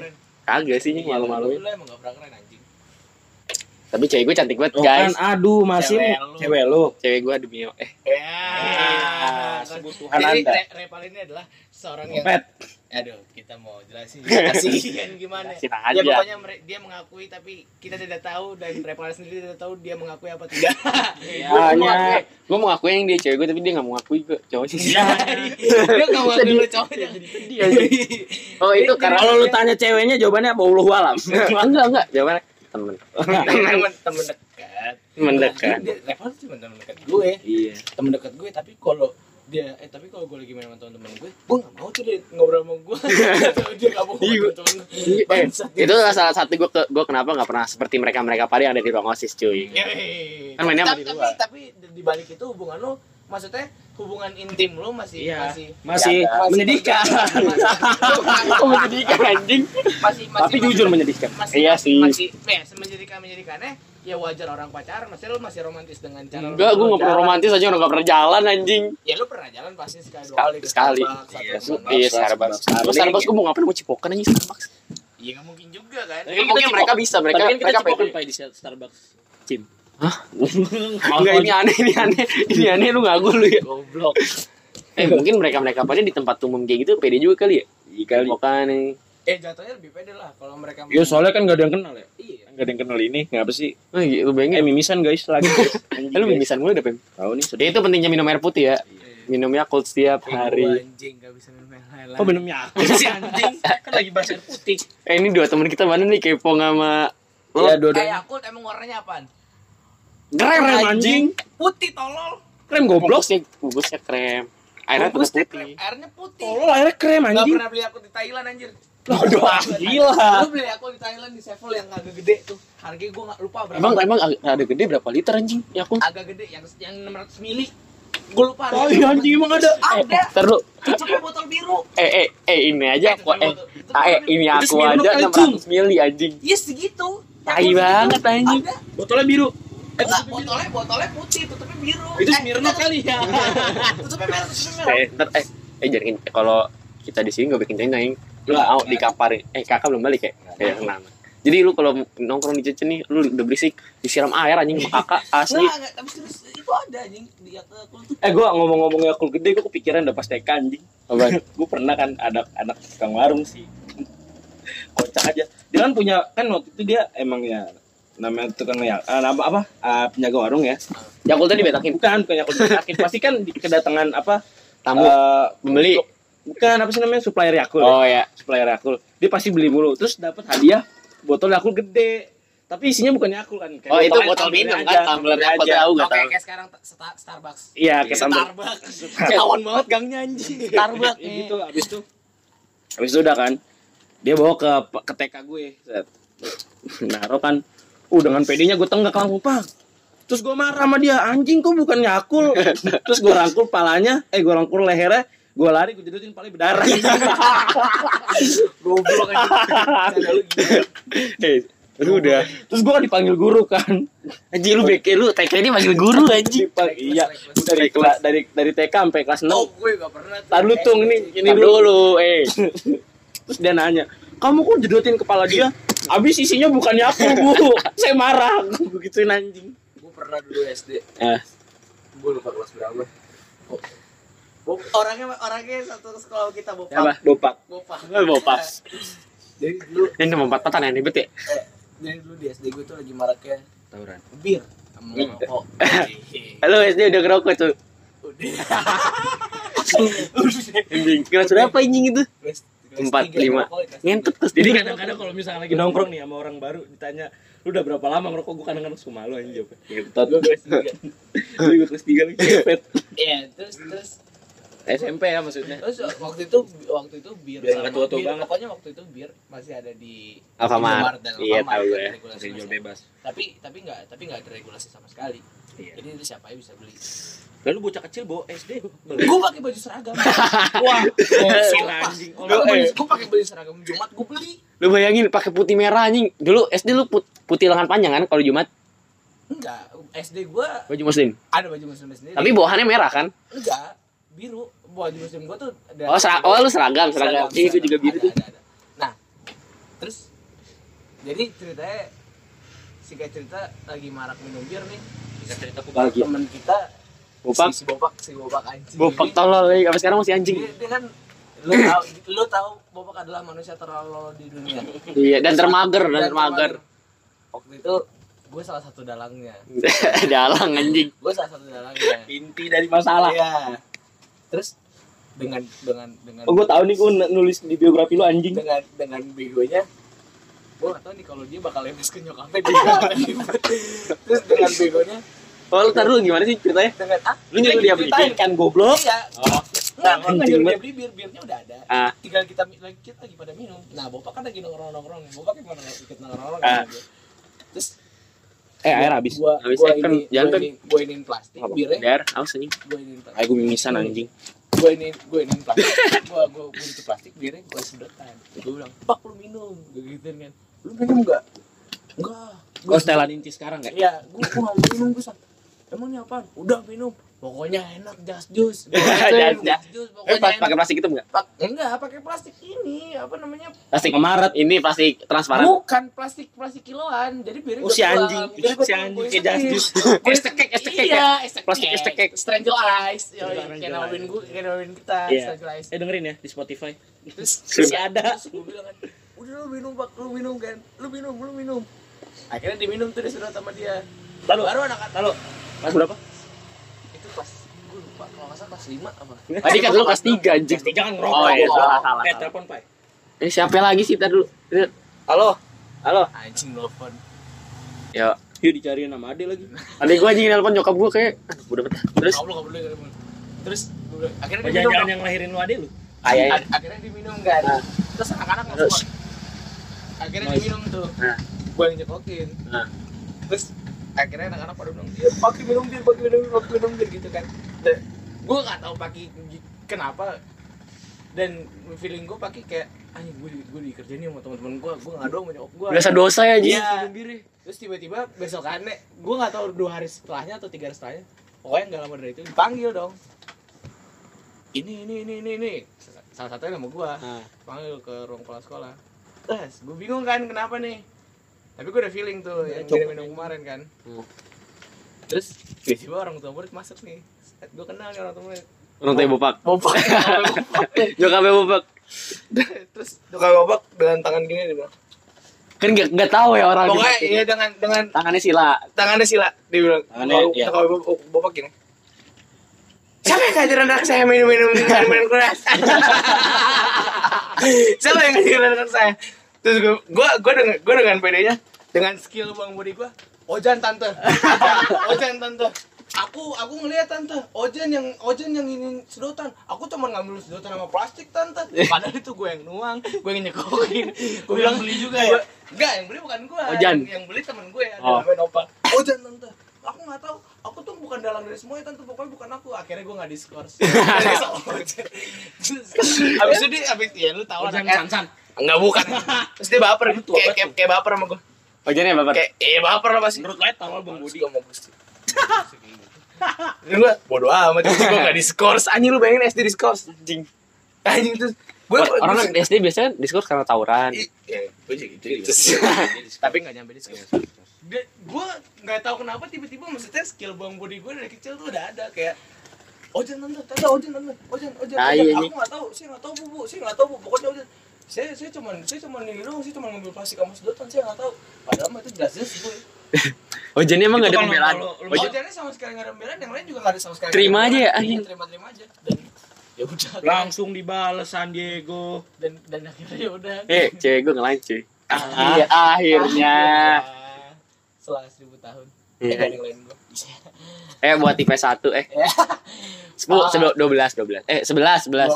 Speaker 2: Kagak sih
Speaker 5: Iya,
Speaker 2: anjing, malu-maluin.
Speaker 3: Lu Iya, emang gak pernah keren anjing.
Speaker 2: Tapi cewek gue cantik banget,
Speaker 5: Tuh kan
Speaker 2: guys.
Speaker 5: aduh masih
Speaker 3: Cewek lu.
Speaker 5: cewek lu. Ah,
Speaker 2: Cewek gue demi Allah. eh
Speaker 1: Ah,
Speaker 3: Ya.
Speaker 5: sebut Tuhan
Speaker 3: Jadi
Speaker 5: Anda.
Speaker 3: re Repal ini adalah seorang yang
Speaker 5: Pet.
Speaker 3: aduh kita mau jelasin jelasin gimana.
Speaker 2: kasih
Speaker 3: Ya
Speaker 2: aja.
Speaker 3: pokoknya mere- dia mengakui tapi kita tidak tahu dan Repal sendiri tidak tahu dia mengakui apa tidak.
Speaker 5: Banyak.
Speaker 2: Gue mau ngakuin yang dia cewek gue tapi dia gak mau ngakui gue cowok
Speaker 5: Iya.
Speaker 2: sih.
Speaker 3: Dia gak mengakui lu cowoknya.
Speaker 2: Oh itu karena
Speaker 5: Kalau lu tanya ceweknya jawabannya mau lu alam.
Speaker 2: enggak enggak jawabannya temen
Speaker 3: Temen temen dekat.
Speaker 2: mendekat
Speaker 3: Dia- Repal tuh cuma temen dekat gue.
Speaker 2: iya
Speaker 3: temen dekat gue tapi kalau dia eh tapi kalau gue lagi main sama teman-teman gue gue gak mau tuh dia ngobrol sama gue Atau dia gak mau ngobrol sama temen gue
Speaker 2: eh, itu adalah salah satu gue ke, gue kenapa nggak pernah seperti mereka mereka pada yang ada di ruang osis cuy
Speaker 3: Eh,
Speaker 2: Kan mainnya sama
Speaker 3: tapi,
Speaker 2: di
Speaker 3: tapi, tapi di balik itu hubungan lo maksudnya hubungan intim lo masih
Speaker 2: Iya.
Speaker 3: masih
Speaker 5: Masih menyedihkan.
Speaker 2: aku menyedihkan anjing
Speaker 3: masih masih
Speaker 5: Tapi jujur menyedihkan.
Speaker 3: masih,
Speaker 2: Iya
Speaker 3: masih,
Speaker 2: sih.
Speaker 3: masih ya menjadikan menjadikannya ya wajar orang pacaran masih lo masih romantis dengan cara lo
Speaker 2: enggak gue nggak pernah romantis aja orang nggak pernah jalan anjing
Speaker 3: ya lo pernah jalan pasti sekali dua
Speaker 2: Sekali.
Speaker 3: kali ke
Speaker 2: Sekali.
Speaker 3: Starbucks, satu
Speaker 5: Iya,
Speaker 3: momen.
Speaker 2: iya Starbucks Gua Starbucks gue mau ngapain mau cipokan anjing Starbucks
Speaker 3: iya nggak mungkin juga kan
Speaker 2: Tapi mungkin mereka bisa mereka mereka pede
Speaker 5: di Starbucks. Cim.
Speaker 2: Enggak ini aneh ini aneh ini aneh lu ngaku lu ya
Speaker 3: goblok
Speaker 2: eh mungkin mereka mereka pada di tempat umum kayak gitu pede juga kali ya
Speaker 5: Iya
Speaker 2: cipokan nih
Speaker 3: eh jatuhnya lebih pede lah kalau mereka
Speaker 5: Yo soalnya kan gak ada yang kenal ya.
Speaker 3: iya
Speaker 5: Gak ada yang kenal ini. Ngapa sih?
Speaker 2: Oh, iya, lu
Speaker 5: Eh
Speaker 2: bayangin
Speaker 5: mimisan guys lagi.
Speaker 2: eh, lu mimisan mulu deh Pem.
Speaker 5: Tahu nih
Speaker 2: Jadi
Speaker 5: sedih. Iya.
Speaker 2: itu pentingnya minum air putih ya. Minum Yakult setiap
Speaker 3: Eh, gua
Speaker 2: hari.
Speaker 3: anjing gak bisa minum yang lain
Speaker 5: Oh
Speaker 2: Iya,
Speaker 5: minumnya aku sih anjing. Kan lagi bahas air putih.
Speaker 2: Eh ini dua teman kita mana nih kepo sama Lo-
Speaker 5: Ya dua
Speaker 3: kayak aku emang warnanya apaan
Speaker 2: Krem
Speaker 5: Krem
Speaker 2: anjing.
Speaker 5: anjing.
Speaker 3: putih tolol
Speaker 5: Krem
Speaker 2: Goblok
Speaker 5: goblok.
Speaker 2: sih, bungkusnya krem. Airnya tetap
Speaker 5: Bungkusnya
Speaker 2: putih.
Speaker 3: airnya putih
Speaker 5: Tolol akhirnya krem
Speaker 3: gak
Speaker 5: anjing.
Speaker 3: pernah beli aku di Thailand anjir
Speaker 5: Aduh gila.
Speaker 3: lu beli aku di Thailand di Sevel yang agak gede tuh harganya gue gak lupa berapa
Speaker 2: Emang emang ag- ada gede berapa liter anjing Yakult?
Speaker 3: agak gede yang yang 600 mili gue lupa
Speaker 5: Oh
Speaker 3: harganya.
Speaker 5: iya anjing emang ada.
Speaker 3: ada
Speaker 2: Ntar lu,
Speaker 3: sama botol biru
Speaker 2: eh eh eh ini aja aku eh ah, eh ini
Speaker 5: Itu
Speaker 2: aku
Speaker 5: Smirnoff,
Speaker 2: aja
Speaker 5: anjing.
Speaker 2: 600 mili anjing.
Speaker 3: iya segitu
Speaker 2: Tai
Speaker 3: Yang gitu,
Speaker 2: banget anjing.
Speaker 3: ada
Speaker 5: Botolnya biru.
Speaker 3: Enggak, Ah, botolnya botolnya putih tutupnya biru
Speaker 5: Itu
Speaker 3: Eh,
Speaker 5: Smirnoff
Speaker 3: enggak,
Speaker 5: kali ya.
Speaker 3: tutupnya merah
Speaker 5: Iya.
Speaker 3: tutupnya merah
Speaker 2: Eh ntar eh eh jangan kalau kita di sini gak bikin cengeng anjing. Lu nggak
Speaker 5: iya.
Speaker 2: mau dikamparin. Eh kakak belum balik ya? Kayak kenapa? Jadi lu kalau nongkrong di Cece nih, lu udah berisik disiram air anjing sama kakak asli.
Speaker 3: Enggak, enggak, tapi serius, itu ada anjing di aku tuh
Speaker 5: Nah. Eh gua ngomong-ngomong Yakult gede gua kepikiran udah pas TK anjing.
Speaker 2: Apaan?
Speaker 5: gue pernah kan ada anak tukang warung sih kocak aja dia kan punya kan waktu itu dia emang ya namanya tukang ya eh, apa apa eh, penjaga warung ya
Speaker 2: Yakult tadi betakin
Speaker 5: bukan bukan yang sakit pasti kan di kedatangan apa
Speaker 2: tamu
Speaker 5: eh,
Speaker 2: pembeli.
Speaker 5: bukan apa sih namanya supplier yakul ya.
Speaker 2: Oh ya,
Speaker 5: supplier yakul dia pasti beli mulu terus dapat hadiah botol yakul gede tapi isinya bukan yakul kan Kayak
Speaker 2: Oh itu
Speaker 5: botolnya
Speaker 2: botol
Speaker 5: tumbler
Speaker 2: minum
Speaker 5: aja,
Speaker 2: kan tumbler
Speaker 5: tumbler
Speaker 2: aku
Speaker 5: aja.
Speaker 2: tahu
Speaker 3: Oke,
Speaker 2: gak tahu.
Speaker 3: kayak sekarang ta- Sta- Starbucks.
Speaker 5: iya kayak tumbler.
Speaker 3: Starbucks. Ketahuan banget gangnya anjing. Starbucks.
Speaker 5: Ya gitu abis itu habis itu udah kan dia bawa ke ke TK gue set naro kan uh dengan PD-nya gue tenggak langsung pak terus gue marah sama dia anjing kok bukan nyakul terus gue rangkul palanya eh gue rangkul lehernya gue lari gue jedutin paling berdarah
Speaker 3: Goblok aja. Canda lu gila.
Speaker 5: Eh, lu udah terus gue dipanggil guru kan anjing lu BK lu
Speaker 2: TK ini manggil guru anjing
Speaker 5: Dipanggil- iya dari kela- dari dari TK sampai kelas 6
Speaker 3: Oh, gue gak pernah tuh.
Speaker 5: Tar lu tung ini ini
Speaker 2: Tar
Speaker 5: dulu, eh. Terus dia nanya, "Kamu kok jedotin kepala
Speaker 2: Iya.
Speaker 5: dia? Abis isinya bukan aku, Bu." Saya marah, gue gituin anjing.
Speaker 3: Gue pernah dulu SD.
Speaker 5: Eh,
Speaker 3: Gue lupa kelas berapa. Oh. Bop- Orangnya orangnya satu sekolah sama kita
Speaker 5: apa?
Speaker 3: bopak.
Speaker 5: Dopak.
Speaker 3: Bopak.
Speaker 5: Enggak bopak.
Speaker 3: Jadi dulu eh,
Speaker 2: ini nomor empat patan aneh bet ya
Speaker 3: jadi dulu di SD gue tuh lagi maraknya
Speaker 1: tawuran
Speaker 3: bir sama rokok.
Speaker 2: halo SD udah ngerokok tuh
Speaker 3: iya. Udah.
Speaker 2: anjing kelas berapa anjing itu
Speaker 3: Kelas- kelas
Speaker 2: Empat,
Speaker 3: tiga
Speaker 2: lima.
Speaker 3: rokok, kelas
Speaker 2: ngentot kelas
Speaker 1: jadi
Speaker 2: tiga.
Speaker 1: kadang-kadang kalau misalnya lagi nongkrong nih sama orang baru ditanya lu udah berapa lama ngerokok gue kadang-kadang suka malu aja jawabnya
Speaker 5: Gitu.
Speaker 3: Gue kelas tiga.
Speaker 5: Gue ikut kelas 3 lagi kepet.
Speaker 3: Iya, terus terus
Speaker 5: SMP ya
Speaker 2: Eh.
Speaker 5: maksudnya.
Speaker 3: terus waktu itu waktu itu bir
Speaker 1: Biar
Speaker 3: sama
Speaker 1: nggak tua-tua
Speaker 3: bir,
Speaker 1: banget.
Speaker 3: pokoknya waktu itu bir masih ada di
Speaker 2: Alfamart
Speaker 3: Indomaret dan
Speaker 2: iya
Speaker 3: Alfamart,
Speaker 2: tahu
Speaker 3: ada
Speaker 2: gue
Speaker 3: regulasi
Speaker 1: masih jual
Speaker 3: nasional.
Speaker 1: bebas
Speaker 3: tapi tapi nggak tapi nggak ada regulasi sama sekali
Speaker 1: Iya.
Speaker 3: jadi itu siapa aja bisa beli
Speaker 1: lalu bocah kecil bawa SD
Speaker 3: gue pakai baju seragam
Speaker 1: wah gokil anjing
Speaker 3: gue pakai gua pakai baju seragam jumat gue beli
Speaker 2: lu bayangin pakai putih merah anjing dulu SD lu put- putih lengan panjang kan kalau Jumat
Speaker 3: enggak sd gue
Speaker 2: baju muslim
Speaker 3: ada baju muslim sendiri
Speaker 2: tapi bawahannya merah kan
Speaker 3: enggak biru baju muslim gue tuh ada
Speaker 2: oh, sera- oh lu seragam seragam
Speaker 3: Seragam,
Speaker 2: iya gue
Speaker 3: seragam.
Speaker 2: juga biru
Speaker 3: Ada,
Speaker 2: tuh
Speaker 3: ada, ada. Nah, terus jadi ceritanya singkat cerita lagi marak minum bir nih.
Speaker 1: bisa cerita aku
Speaker 5: Bagi.
Speaker 3: Temen kita
Speaker 2: bopak
Speaker 3: si, si bopak si bopak anjing.
Speaker 2: bopak
Speaker 3: Jadi,
Speaker 2: tolol eh, apa sekarang masih anjing
Speaker 3: Dia, dia kan lu tahu lu tahu bopak adalah manusia terlalu di dunia.
Speaker 2: iya dan termager dan termager
Speaker 3: Waktu itu gue salah satu dalangnya.
Speaker 2: dalang anjing
Speaker 3: Gue salah satu dalangnya.
Speaker 5: Inti dari masalah.
Speaker 3: Iya. Terus dengan dengan dengan
Speaker 5: Oh, gue tahu nih gue nulis di biografi lu anjing.
Speaker 3: dengan dengan begonya gue gak tau nih kalau dia bakal lemes ke nyokapnya dia gak akan ribet. terus dengan begonya
Speaker 2: oh lu taruh gimana sih ceritanya
Speaker 3: dengan ah
Speaker 5: Lu nyuruh dia beliin kan goblok.
Speaker 3: iya
Speaker 5: Oh,
Speaker 3: nggak nggak
Speaker 5: anjing
Speaker 3: nyuruh
Speaker 5: banget.
Speaker 3: dia beli bir birnya udah ada
Speaker 2: Ah.
Speaker 3: tinggal kita lagi kita lagi pada minum nah bapak kan lagi nongkrong nongkrong bapak gimana nggak ikut nongkrong nongkrong
Speaker 5: Ah.
Speaker 3: terus
Speaker 5: eh air habis. eh,
Speaker 3: gue
Speaker 2: Habis
Speaker 3: gue
Speaker 2: air kan
Speaker 3: ini
Speaker 2: jantan.
Speaker 3: gue ini plastik
Speaker 5: Apa?
Speaker 3: birnya
Speaker 2: biar awas anjing
Speaker 3: gue ini plastik
Speaker 5: Ayo gue mimisan anjing.
Speaker 3: gue ini gue ini plastik gue gue gue itu plastik birnya gue sedotan gue bilang pak lu minum gue gituin kan lu minum nggak enggak
Speaker 5: Gue
Speaker 2: Oh,
Speaker 5: Oh, setelan inti sekarang gak?
Speaker 3: Iya, gua gua nggak mau minum gua San. Emang ini apaan? Udah minum. Pokoknya enak jas jus.
Speaker 2: Jas-
Speaker 3: Jas jus
Speaker 2: eh pas pakai
Speaker 3: pokoknya enak.
Speaker 2: plastik itu enggak
Speaker 3: Pak- enggak, pakai plastik ini, apa namanya?
Speaker 2: plastik Maret ini plastik transparan
Speaker 3: Bukan plastik plastik kiloan. Jadi biar
Speaker 5: Oh, si anjing. Si anjing kayak jas jus.
Speaker 1: Oh,
Speaker 2: Es
Speaker 3: Es
Speaker 2: tekek, es tekek
Speaker 3: Iya, es tekek.
Speaker 2: Plastik es tekek.
Speaker 3: Strangle Eyes. Yo,
Speaker 1: Strangle
Speaker 3: kayak
Speaker 1: Eyes.
Speaker 3: namain gua, kayak namain kita,
Speaker 5: Iya.
Speaker 3: Strangle Eyes.
Speaker 1: eh dengerin ya di Spotify
Speaker 3: Terus
Speaker 1: masih ada
Speaker 3: terus gua bilang kan, "Udah lu minum, Pak. Lu minum kan. Lu minum, lu minum." Akhirnya diminum tuh disuruh sama dia.
Speaker 1: lalu
Speaker 3: Baru anak-anak
Speaker 1: lalu kelas berapa
Speaker 3: itu pas gue lupa kalau nggak salah kelas lima apa
Speaker 2: tadi kan lu kelas tiga anjing
Speaker 1: Pasti jangan kan ngerokok
Speaker 2: oh iya
Speaker 1: Bo.
Speaker 2: salah salah
Speaker 1: eh
Speaker 2: salah.
Speaker 1: telepon pak
Speaker 2: ini siapa lagi sih tadi dulu
Speaker 5: Halo.
Speaker 1: Oh.
Speaker 5: Halo.
Speaker 3: anjing nelfon
Speaker 2: ya
Speaker 5: Yuk dicariin sama Ade lagi.
Speaker 2: tadi gua anjing nelpon nyokap gua kayak aduh, udah betah terus
Speaker 3: kamu nggak boleh nggak boleh terus gua bilang, akhirnya kan?
Speaker 1: Oh,
Speaker 3: diminum
Speaker 1: jangan-jangan
Speaker 3: dong.
Speaker 1: yang lahirin lu ade lu
Speaker 2: ayah
Speaker 3: Ak- akhirnya diminum kan
Speaker 2: Nah.
Speaker 3: terus anak-anak nggak
Speaker 2: Terus.
Speaker 3: semua akhirnya
Speaker 2: Nice.
Speaker 3: diminum tuh
Speaker 2: Nah.
Speaker 3: gue yang nyekokin
Speaker 2: Nah.
Speaker 3: terus akhirnya anak-anak pada bilang "Iya, dia pakai minum bir pakai minum bir pakai minum bir gitu kan dan gue nggak tahu pakai gi- kenapa dan feeling gue pakai kayak anjing gue gue dikerjain nih sama teman-teman gue gue nggak doang sama nyokap gue
Speaker 2: berasa dosa ya anjing
Speaker 3: Iya. Terus tiba-tiba besokannya, gue nggak tahu dua hari setelahnya atau tiga hari setelahnya, pokoknya nggak lama dari itu dipanggil dong. Ini ini ini ini ini salah satunya nama gue,
Speaker 5: Ah.
Speaker 3: panggil ke ruang kepala sekolah. Terus gue bingung kan kenapa nih? Tapi gue udah feeling tuh yang
Speaker 5: cukup.
Speaker 3: minum kemarin kan. Terus tiba-tiba orang tua murid masuk nih. Gue kenal nih orang tua murid.
Speaker 2: orang tua bopak
Speaker 3: Bopak.
Speaker 2: nyokapnya bopak
Speaker 3: Terus tukang bopak dengan tangan gini dia bilang.
Speaker 2: kan gak, gak tahu ya orang
Speaker 3: Pokoknya iya dengan dengan
Speaker 2: tangannya sila
Speaker 3: tangannya sila dia bilang
Speaker 5: Tangannya,
Speaker 3: kalau
Speaker 5: iya.
Speaker 3: kalau bapak, bapak gini siapa yang ngajarin anak saya minum-minum dengan main keras siapa yang ngajarin anak saya terus gue gue gue dengan gue "Oh, dengan pedenya dengan skill bang budi gue ojan "Oh, tante ojan tante aku aku ngeliat tante ojen yang ojen yang ingin sedotan aku cuma ngambil sedotan sama plastik tante padahal itu gue yang nuang gue yang nyekokin gue bilang beli juga ya enggak yang beli bukan gue
Speaker 5: Ojan.
Speaker 3: yang, yang beli temen gue ada
Speaker 5: Oh.
Speaker 3: namanya Nopal ojen tante aku nggak tahu aku tuh bukan dalang dari semuanya tante pokoknya bukan aku akhirnya gue nggak diskors abis itu dia abis ya lu tahu
Speaker 1: Ojan
Speaker 3: anaknya.
Speaker 1: Sansan.
Speaker 3: Enggak bukan. Terus dia baper gitu. Kayak kayak, kayak baper sama gue.
Speaker 5: Ojannya baper.
Speaker 3: Kayak eh baper lah pasti.
Speaker 1: Menurut Light awal Bang Budi.
Speaker 3: Budi sama Gusti. gitu. Ini gue bodo amat gue gak diskors anjing lu bayangin SD diskors anjing. Anjing terus gue
Speaker 2: orang kan SD biasanya diskors karena tawuran
Speaker 3: ya gue juga gitu. gitu.
Speaker 1: Tapi
Speaker 3: Tapi gak
Speaker 2: Iya,
Speaker 3: nyampe diskors. Gue gak tahu kenapa tiba-tiba maksudnya skill bang Budi gue dari kecil tuh udah ada kayak Ojan tante, tante, ojan tante, ojan, ojan,
Speaker 2: Tai,
Speaker 3: ojan.
Speaker 2: anjing.
Speaker 3: Aku gak tahu, saya gak tahu bu, bu, saya gak tahu bu, pokoknya ojan. Saya, saya cuman, saya cuman ini doang, saya cuman ngambil plastik sama sedotan, saya gak tahu. Padahal mah itu jelas jelas gue.
Speaker 2: Ojannya emang
Speaker 1: Itu kan
Speaker 2: gak ada
Speaker 1: kalau-
Speaker 2: pembelaan
Speaker 1: kalau- kalau-
Speaker 2: Ojan-
Speaker 3: Ojannya sama sekali gak ada pembelaan, yang lain juga gak ada sama sekali.
Speaker 2: Terima aja ya,
Speaker 3: Iya,
Speaker 2: anjing.
Speaker 3: Terima-terima aja. Dan ya udah.
Speaker 1: langsung dibales San Diego.
Speaker 3: Dan dan akhirnya ya udah.
Speaker 2: eh cewek gue ngelain cuy
Speaker 1: Ah.
Speaker 2: iya akhirnya
Speaker 3: Wah, Setelah seribu tahun.
Speaker 2: Iya.
Speaker 3: Eh, gak ada yang lain gue.
Speaker 2: eh buat tipe 1 eh
Speaker 1: Iya. Ah.
Speaker 2: 10 sebel- 12 12 eh 11
Speaker 3: Dua
Speaker 2: 11
Speaker 3: belas.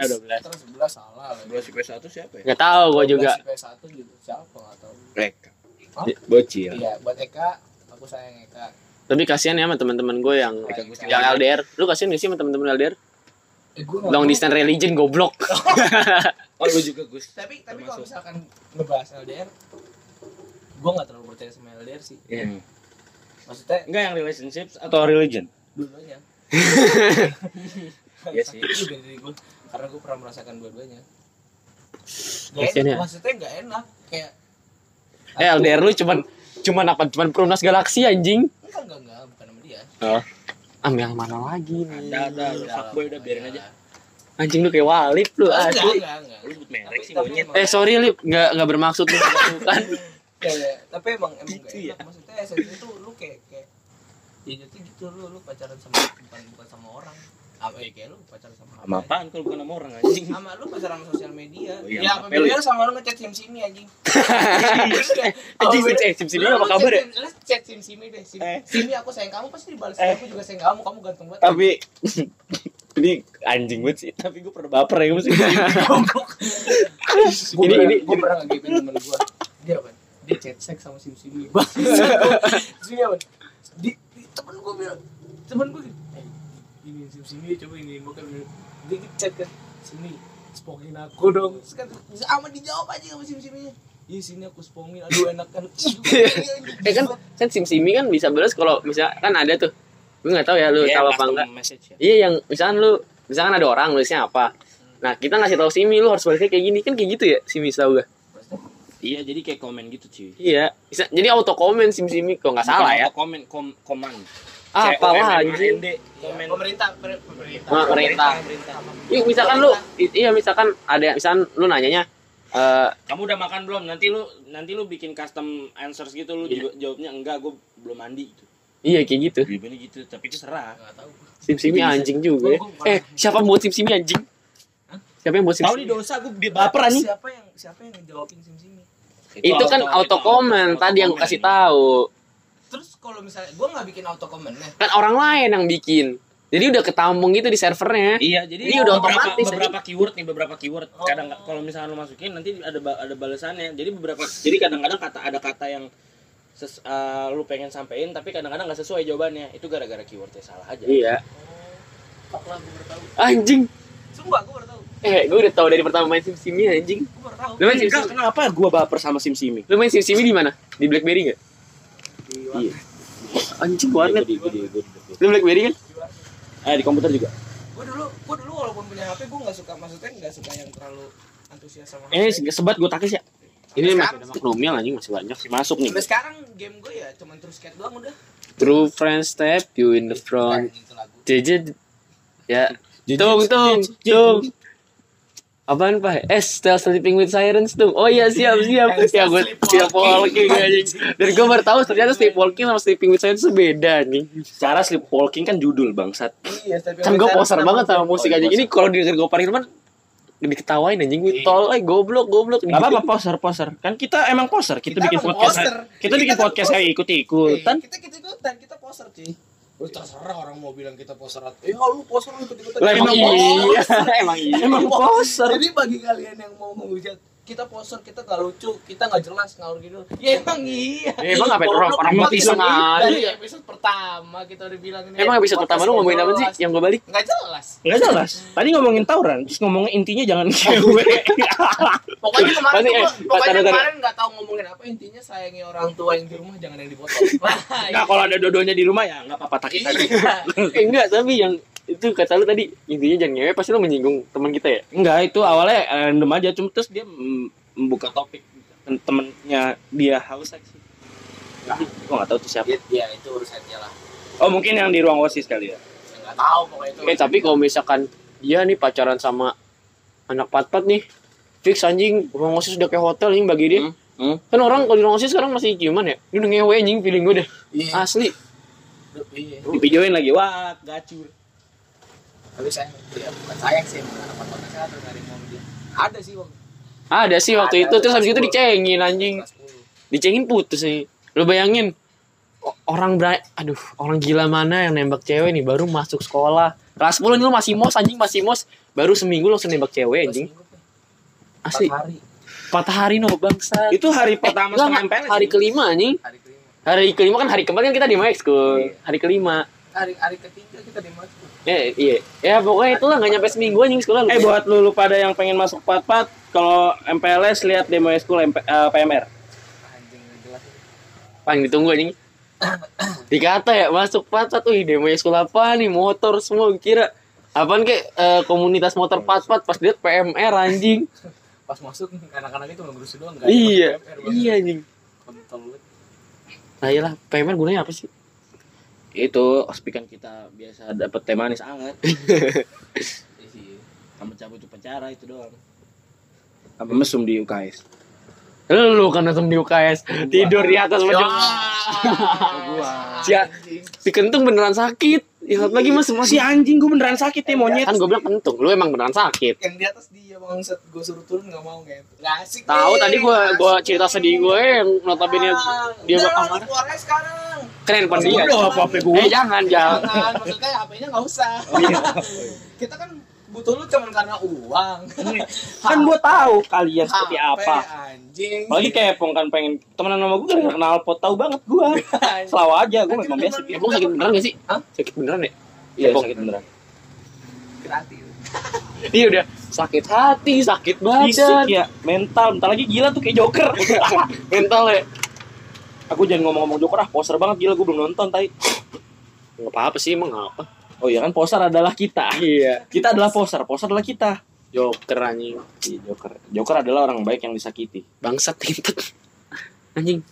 Speaker 2: Eh, 12.
Speaker 3: Terus sebelas salah. lagi.
Speaker 1: 12 IPS 1 siapa ya?
Speaker 2: Gak tahu gue juga
Speaker 3: 12 IPS satu juga siapa gak tahu.
Speaker 5: Eka.
Speaker 3: Hah?
Speaker 5: Bocil.
Speaker 3: Iya, buat Eka, aku sayang Eka.
Speaker 2: Tapi kasihan ya sama teman-teman gue yang
Speaker 3: Eka Gusti.
Speaker 2: yang LDR Lu kasihan gak sih sama teman-teman LDR?
Speaker 3: Eh, gue
Speaker 2: Long distance religion goblok
Speaker 1: Oh, lu juga Gus.
Speaker 3: Tapi tapi kalau
Speaker 1: Termasuk.
Speaker 3: misalkan ngebahas LDR, gue gak terlalu percaya sama LDR sih.
Speaker 2: Hmm.
Speaker 5: Iya.
Speaker 3: Maksudnya
Speaker 1: Enggak yang relationship atau
Speaker 5: Atau religion?
Speaker 3: dua-duanya
Speaker 1: Iya sih.
Speaker 3: Sakit juga diri gua, karena gue pernah merasakan dua-duanya Gak
Speaker 2: Kasian
Speaker 3: enak,
Speaker 2: ya.
Speaker 3: maksudnya gak enak kayak
Speaker 2: Eh LDR lu cuman cuman apa? Cuman Perunas Galaksi anjing.
Speaker 3: enggak enggak enggak bukan sama dia
Speaker 2: Am yang mana lagi nih?
Speaker 1: ada ada lu fuckboy udah biarin aja.
Speaker 2: Anjing lu kayak Walip lu
Speaker 3: enggak enggak
Speaker 2: asli.
Speaker 3: enggak, enggak.
Speaker 1: Lu sebut merek sih
Speaker 3: Tapi-
Speaker 1: monyet.
Speaker 3: tapi
Speaker 2: Eh sorry Lip, nggak nggak bermaksud lu kan.
Speaker 3: kayak tapi emang emang gak
Speaker 1: Gitu ya.
Speaker 3: enak maksudnya esensi itu lu kayak kayak ya jatuh gitu lu lu pacaran sama bukan bukan sama orang apa ya kayak lu pacaran sama
Speaker 1: Sama
Speaker 3: apa
Speaker 1: apaan kalau bukan sama orang anjing.
Speaker 3: aja. sama lu pacaran sama sosial media
Speaker 1: Oh, iya,
Speaker 3: ya
Speaker 1: sama
Speaker 3: apa
Speaker 1: lu.
Speaker 3: bedanya sama lu ngechat sim simi anjing
Speaker 2: Anjing lu eh Sim Sim
Speaker 3: Lu-
Speaker 2: apa
Speaker 3: lu
Speaker 2: kabar ya?
Speaker 3: chat- Lu chat Sim Simi deh, Sim.
Speaker 1: Eh.
Speaker 3: Simi aku sayang kamu pasti dibalas
Speaker 1: Eh.
Speaker 3: aku juga sayang kamu, kamu ganteng banget.
Speaker 5: Tapi ini anjing banget sih.
Speaker 1: Tapi gue pernah
Speaker 5: Baper ya mesti.
Speaker 3: Gua
Speaker 5: ini-
Speaker 3: pernah-
Speaker 5: ini-
Speaker 3: gua pernah ngegepin temen gua. Dia apa? Dia chat seks sama Sim Simi. Simi apa? Di, di temen gua bilang, temen gua gini, "Eh, ini Sim Simi coba ini bukan dia chat kan Simi spongin aku dong. Terus kan sama dijawab aja sama Sim Siminya. Iya sini aku spongin, aduh enak kan.
Speaker 2: Eh kan kan Sim Simi kan bisa balas kalau misalnya kan ada tuh. Gue nggak tahu ya lu tahu apa enggak.
Speaker 1: Message ya.
Speaker 2: Iya yang misalkan lu misalkan ada orang nulisnya apa. Nah, kita ngasih tahu Simi lu harus balasnya kayak gini kan kayak gitu ya Simi tahu gak?
Speaker 1: Iya, jadi kayak komen gitu, cuy.
Speaker 2: Iya, bisa jadi auto komen Sim Simi kok nggak salah ya.
Speaker 1: Atau Komen kom koman.
Speaker 2: Apalah anjing.
Speaker 1: Komen.
Speaker 3: Pemerintah, per- pemerintah.
Speaker 2: Nah, perintah.
Speaker 1: Pemerintah.
Speaker 2: Iya, misalkan lu i- iya misalkan ada misalkan lu nanyanya eh
Speaker 1: Kamu udah makan belum? Nanti lu nanti lu bikin custom answers gitu lu
Speaker 2: Iya.
Speaker 1: juga jawabnya enggak, gue belum mandi gitu.
Speaker 2: iya kayak gitu.
Speaker 1: Jawabannya gitu, tapi itu serah.
Speaker 3: Enggak tahu.
Speaker 2: Sim Simi anjing juga. ya. Eh, siapa yang buat Sim Simi anjing? Siapa yang buat Sim
Speaker 1: Tahu
Speaker 2: Simi?
Speaker 1: nih dosa gue dia baper anjing.
Speaker 3: Siapa yang siapa yang ngejawabin Sim Simi?
Speaker 2: Itu kan
Speaker 1: Itu
Speaker 2: auto komen tadi yang gue kasih tahu.
Speaker 3: Terus kalau misalnya gue nggak bikin auto comment ya,
Speaker 2: Kan orang lain yang bikin. Jadi udah ketampung gitu di servernya.
Speaker 1: Iya, jadi
Speaker 2: Ini udah
Speaker 1: beberapa,
Speaker 2: otomatis,
Speaker 1: beberapa keyword nih, beberapa keyword.
Speaker 3: Oh.
Speaker 1: Kadang kalau misalnya lu masukin nanti ada ba- ada balasannya. Jadi beberapa jadi kadang-kadang kata ada kata yang ses- eh, lu pengen sampein tapi kadang-kadang nggak sesuai jawabannya. Itu gara-gara keywordnya salah aja.
Speaker 2: Iya.
Speaker 3: fuck lah gue baru tahu.
Speaker 2: Anjing.
Speaker 3: Sumpah gue baru tahu,
Speaker 2: Eh, gue udah tahu dari pertama main Sim Simi anjing.
Speaker 3: gue baru tahu.
Speaker 2: Lu main Sim
Speaker 5: Enggak,
Speaker 2: Simi?
Speaker 5: kenapa gua baper sama Sim Simi?
Speaker 2: Lu main Sim Simi di mana? Di BlackBerry enggak? Iya. Anjing warnet.
Speaker 5: Di- di- di- di-
Speaker 2: Lu BlackBerry kan?
Speaker 5: Eh di komputer juga.
Speaker 3: Gue dulu, gue dulu walaupun punya HP gue nggak suka, maksudnya nggak suka yang terlalu antusias sama
Speaker 5: Eh
Speaker 3: HP.
Speaker 5: sebat gua takis ya.
Speaker 2: Ini masih
Speaker 3: Sekarang
Speaker 2: ada maklumnya anjing masih banyak.
Speaker 5: Masih masuk nih.
Speaker 3: Sampai sekarang game gue ya cuman terus skate doang udah.
Speaker 2: True friends step you in the front.
Speaker 3: Gitu lagu.
Speaker 2: Jeje ya. Tung tung tung. Apaan pak? Eh, still sleeping with sirens tuh. Oh iya siap siap. Ya gue sleepwalking anjing. Dan gue baru tahu ternyata sleepwalking sama sleeping with sirens tuh beda nih.
Speaker 5: Secara sleepwalking kan judul bangsat.
Speaker 3: Iya, tapi
Speaker 2: Kan gue poser banget sama musik
Speaker 5: Oh,
Speaker 2: anjing.
Speaker 5: poser.
Speaker 2: Ini kalau denger gue Pak Hilman diketawain anjing gue tol, eh goblok goblok. Gitu.
Speaker 5: Gak
Speaker 1: Gitu.
Speaker 5: apa-apa poser poser. Kan kita emang poser.
Speaker 3: Kita
Speaker 5: Kita, bikin
Speaker 3: emang
Speaker 5: podcast.
Speaker 3: poser.
Speaker 5: Kita, bikin
Speaker 3: Kita kan
Speaker 5: podcast
Speaker 3: poser.
Speaker 5: kayak ikut ikutan.
Speaker 3: kita kita ikutan, kita poser sih. Lu terserah orang mau bilang kita poserat. Eh, lu poser lu ikut-ikutan.
Speaker 1: Lah, emang
Speaker 2: iya emang iya
Speaker 1: Emang poser.
Speaker 3: Jadi bagi kalian yang mau menghujat kita poser, kita gak lucu, kita gak jelas ngawur gitu. Ya emang iya.
Speaker 2: Ya, emang ngapain orang- orang
Speaker 3: Emang
Speaker 2: ngerti sana
Speaker 3: kita-
Speaker 2: aja.
Speaker 3: Dari episode pertama kita udah ya, bilang ini.
Speaker 2: emang episode pertama lu ngomongin apa sih yang gue balik
Speaker 3: Gak jelas.
Speaker 1: Enggak jelas. Tadi ngomongin tawuran, terus ngomongin intinya jangan cewek.
Speaker 3: Pokoknya kemarin
Speaker 2: Pasti,
Speaker 3: tuh
Speaker 2: eh,
Speaker 3: gua- pokoknya
Speaker 2: bentar, bentar.
Speaker 3: kemarin gak tahu ngomongin apa intinya sayangi orang tua yang di rumah jangan yang dipotong.
Speaker 1: Nah,
Speaker 3: Nah,
Speaker 1: kalau ada dodonya di rumah ya nggak apa-apa taki taki.
Speaker 3: iya.
Speaker 2: eh, enggak tapi yang itu kata lu tadi intinya jangan ngewe pasti lu menyinggung teman kita ya
Speaker 1: Enggak, itu awalnya eh, random aja, cuma terus dia mm, membuka topik temennya dia haus seks. Nah, gue nggak tahu tuh siapa.
Speaker 3: Ya, ya, itu urusannya lah.
Speaker 1: Oh mungkin yang di ruang osis kali ya.
Speaker 3: Gak tahu pokoknya itu.
Speaker 2: eh tapi kalau misalkan dia nih pacaran sama anak pat-pat nih fix anjing ruang osis udah kayak hotel nih bagi dia
Speaker 1: Hmm, hmm.
Speaker 2: kan orang kalau di ruang osis sekarang masih ciuman ya ini udah ngewe anjing feeling gue deh
Speaker 3: Iya.
Speaker 2: asli Ah.
Speaker 3: Iya.
Speaker 1: Dipijoin lagi, wah gacur.
Speaker 3: Tapi sayang, ya, bukan sayang sih, emang anak motor kesehatan dari mau dia. Ada sih waktu
Speaker 2: ada sih waktu
Speaker 3: Ada,
Speaker 2: itu terus habis itu
Speaker 3: sepuluh.
Speaker 2: dicengin anjing
Speaker 3: kelas 10.
Speaker 2: dicengin putus nih lu bayangin o- orang berai aduh orang gila mana yang nembak cewek nih baru masuk sekolah kelas 10 nih lu masih mos anjing masih mos baru seminggu langsung nembak cewek anjing asli
Speaker 3: Asli. hari,
Speaker 2: patah hari no bangsa
Speaker 1: Itu hari pertama
Speaker 2: Eh, enggak,
Speaker 1: sama
Speaker 2: enggak.
Speaker 1: MPLS.
Speaker 2: hari kelima anjing
Speaker 3: hari kelima.
Speaker 2: hari kelima kan hari keempat kan kita di
Speaker 1: Iya.
Speaker 2: ekskul hari kelima
Speaker 3: Hari hari ketiga kita di Mas.
Speaker 2: eh iya ya pokoknya itulah nggak nyampe seminggu anjing sekolah lu
Speaker 1: Eh buat lu, lu pada yang pengen masuk pat-pat, kalau MPLS lihat demo school MP, eh, PMR.
Speaker 3: Anjing nggak jelas.
Speaker 2: paling ditunggu anjing dikata ya masuk pat-pat wih demo sekolah apa nih motor semua kira apaan kek eh, komunitas motor pat-pat pas lihat PMR anjing
Speaker 3: Pas masuk anak-anak itu ngerusuh doang nggak ada
Speaker 2: iya
Speaker 3: PMR, bang.
Speaker 2: iya anjing
Speaker 3: Kontol banget.
Speaker 2: nah iyalah PMR gunanya apa sih
Speaker 1: Itu ospikan kita biasa dapet teh manis anget.
Speaker 3: Iya sih.
Speaker 1: Sama cabut upacara itu doang. Sama mesum di UKS.
Speaker 2: lu kan nonton di UKS tidur di atas
Speaker 1: Ya.
Speaker 2: macam Sia- si kentung beneran sakit ya satu lagi mas
Speaker 1: Si
Speaker 2: masih
Speaker 1: anjing gue beneran sakit nih monyet.
Speaker 2: kan gue bilang kentung lu emang beneran sakit
Speaker 3: Yang di atas dia bang set gue suruh turun nggak mau kayak itu. Nggak asik.
Speaker 2: tahu
Speaker 1: Iya,
Speaker 3: nih,
Speaker 2: tadi gue
Speaker 3: nggak
Speaker 2: gua
Speaker 3: asik.
Speaker 2: cerita sedih gue yang notabene
Speaker 3: Ah,
Speaker 2: dia
Speaker 3: udah
Speaker 2: bakal
Speaker 3: lah, lu
Speaker 2: marah
Speaker 3: keluar aja sekarang.
Speaker 2: keren pan dia
Speaker 1: Udah apa apa gue.
Speaker 2: eh jangan jangan
Speaker 3: Jangan, maksudnya HP-nya nggak usah.
Speaker 2: Iya.
Speaker 3: Kita kan butuh lu cuman karena uang.
Speaker 1: Kan gue tahu kalian seperti
Speaker 3: HP,
Speaker 1: apa.
Speaker 3: Anjing.
Speaker 1: Apalagi kepong kan pengen temenan sama gue gara-gara kenal pot tahu banget gue. Selalu aja gue memang biasa.
Speaker 2: Ya, emang sakit beneran gak sih
Speaker 3: Hah?
Speaker 2: sakit beneran ya
Speaker 1: Iya
Speaker 2: Kepong.
Speaker 1: sakit beneran.
Speaker 3: Gratis.
Speaker 2: Iya udah sakit hati, sakit
Speaker 1: Fisik
Speaker 2: badan,
Speaker 1: ya, mental. Bentar lagi gila tuh kayak Joker.
Speaker 2: mental ya.
Speaker 1: Aku jangan ngomong-ngomong Joker ah, poser banget gila gue belum nonton tai.
Speaker 2: Enggak apa-apa sih emang nggak apa.
Speaker 1: Oh iya kan poser adalah kita.
Speaker 2: Iya.
Speaker 1: Kita adalah poser, poser adalah kita.
Speaker 2: Joker anjing.
Speaker 1: Iya, Joker. Joker adalah orang baik yang disakiti.
Speaker 2: Bangsat tintet. Anjing.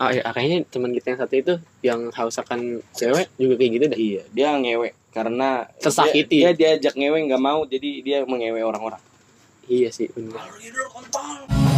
Speaker 2: Ah iya, ah, kayaknya teman kita yang satu itu yang haus akan cewek juga kayak gitu deh.
Speaker 1: Iya, dia ngewe karena
Speaker 2: Tersakiti.
Speaker 1: Dia, dia diajak ngewe nggak mau, jadi dia mengewe orang-orang.
Speaker 2: Iya sih benar.
Speaker 3: Kalau tidur kontol.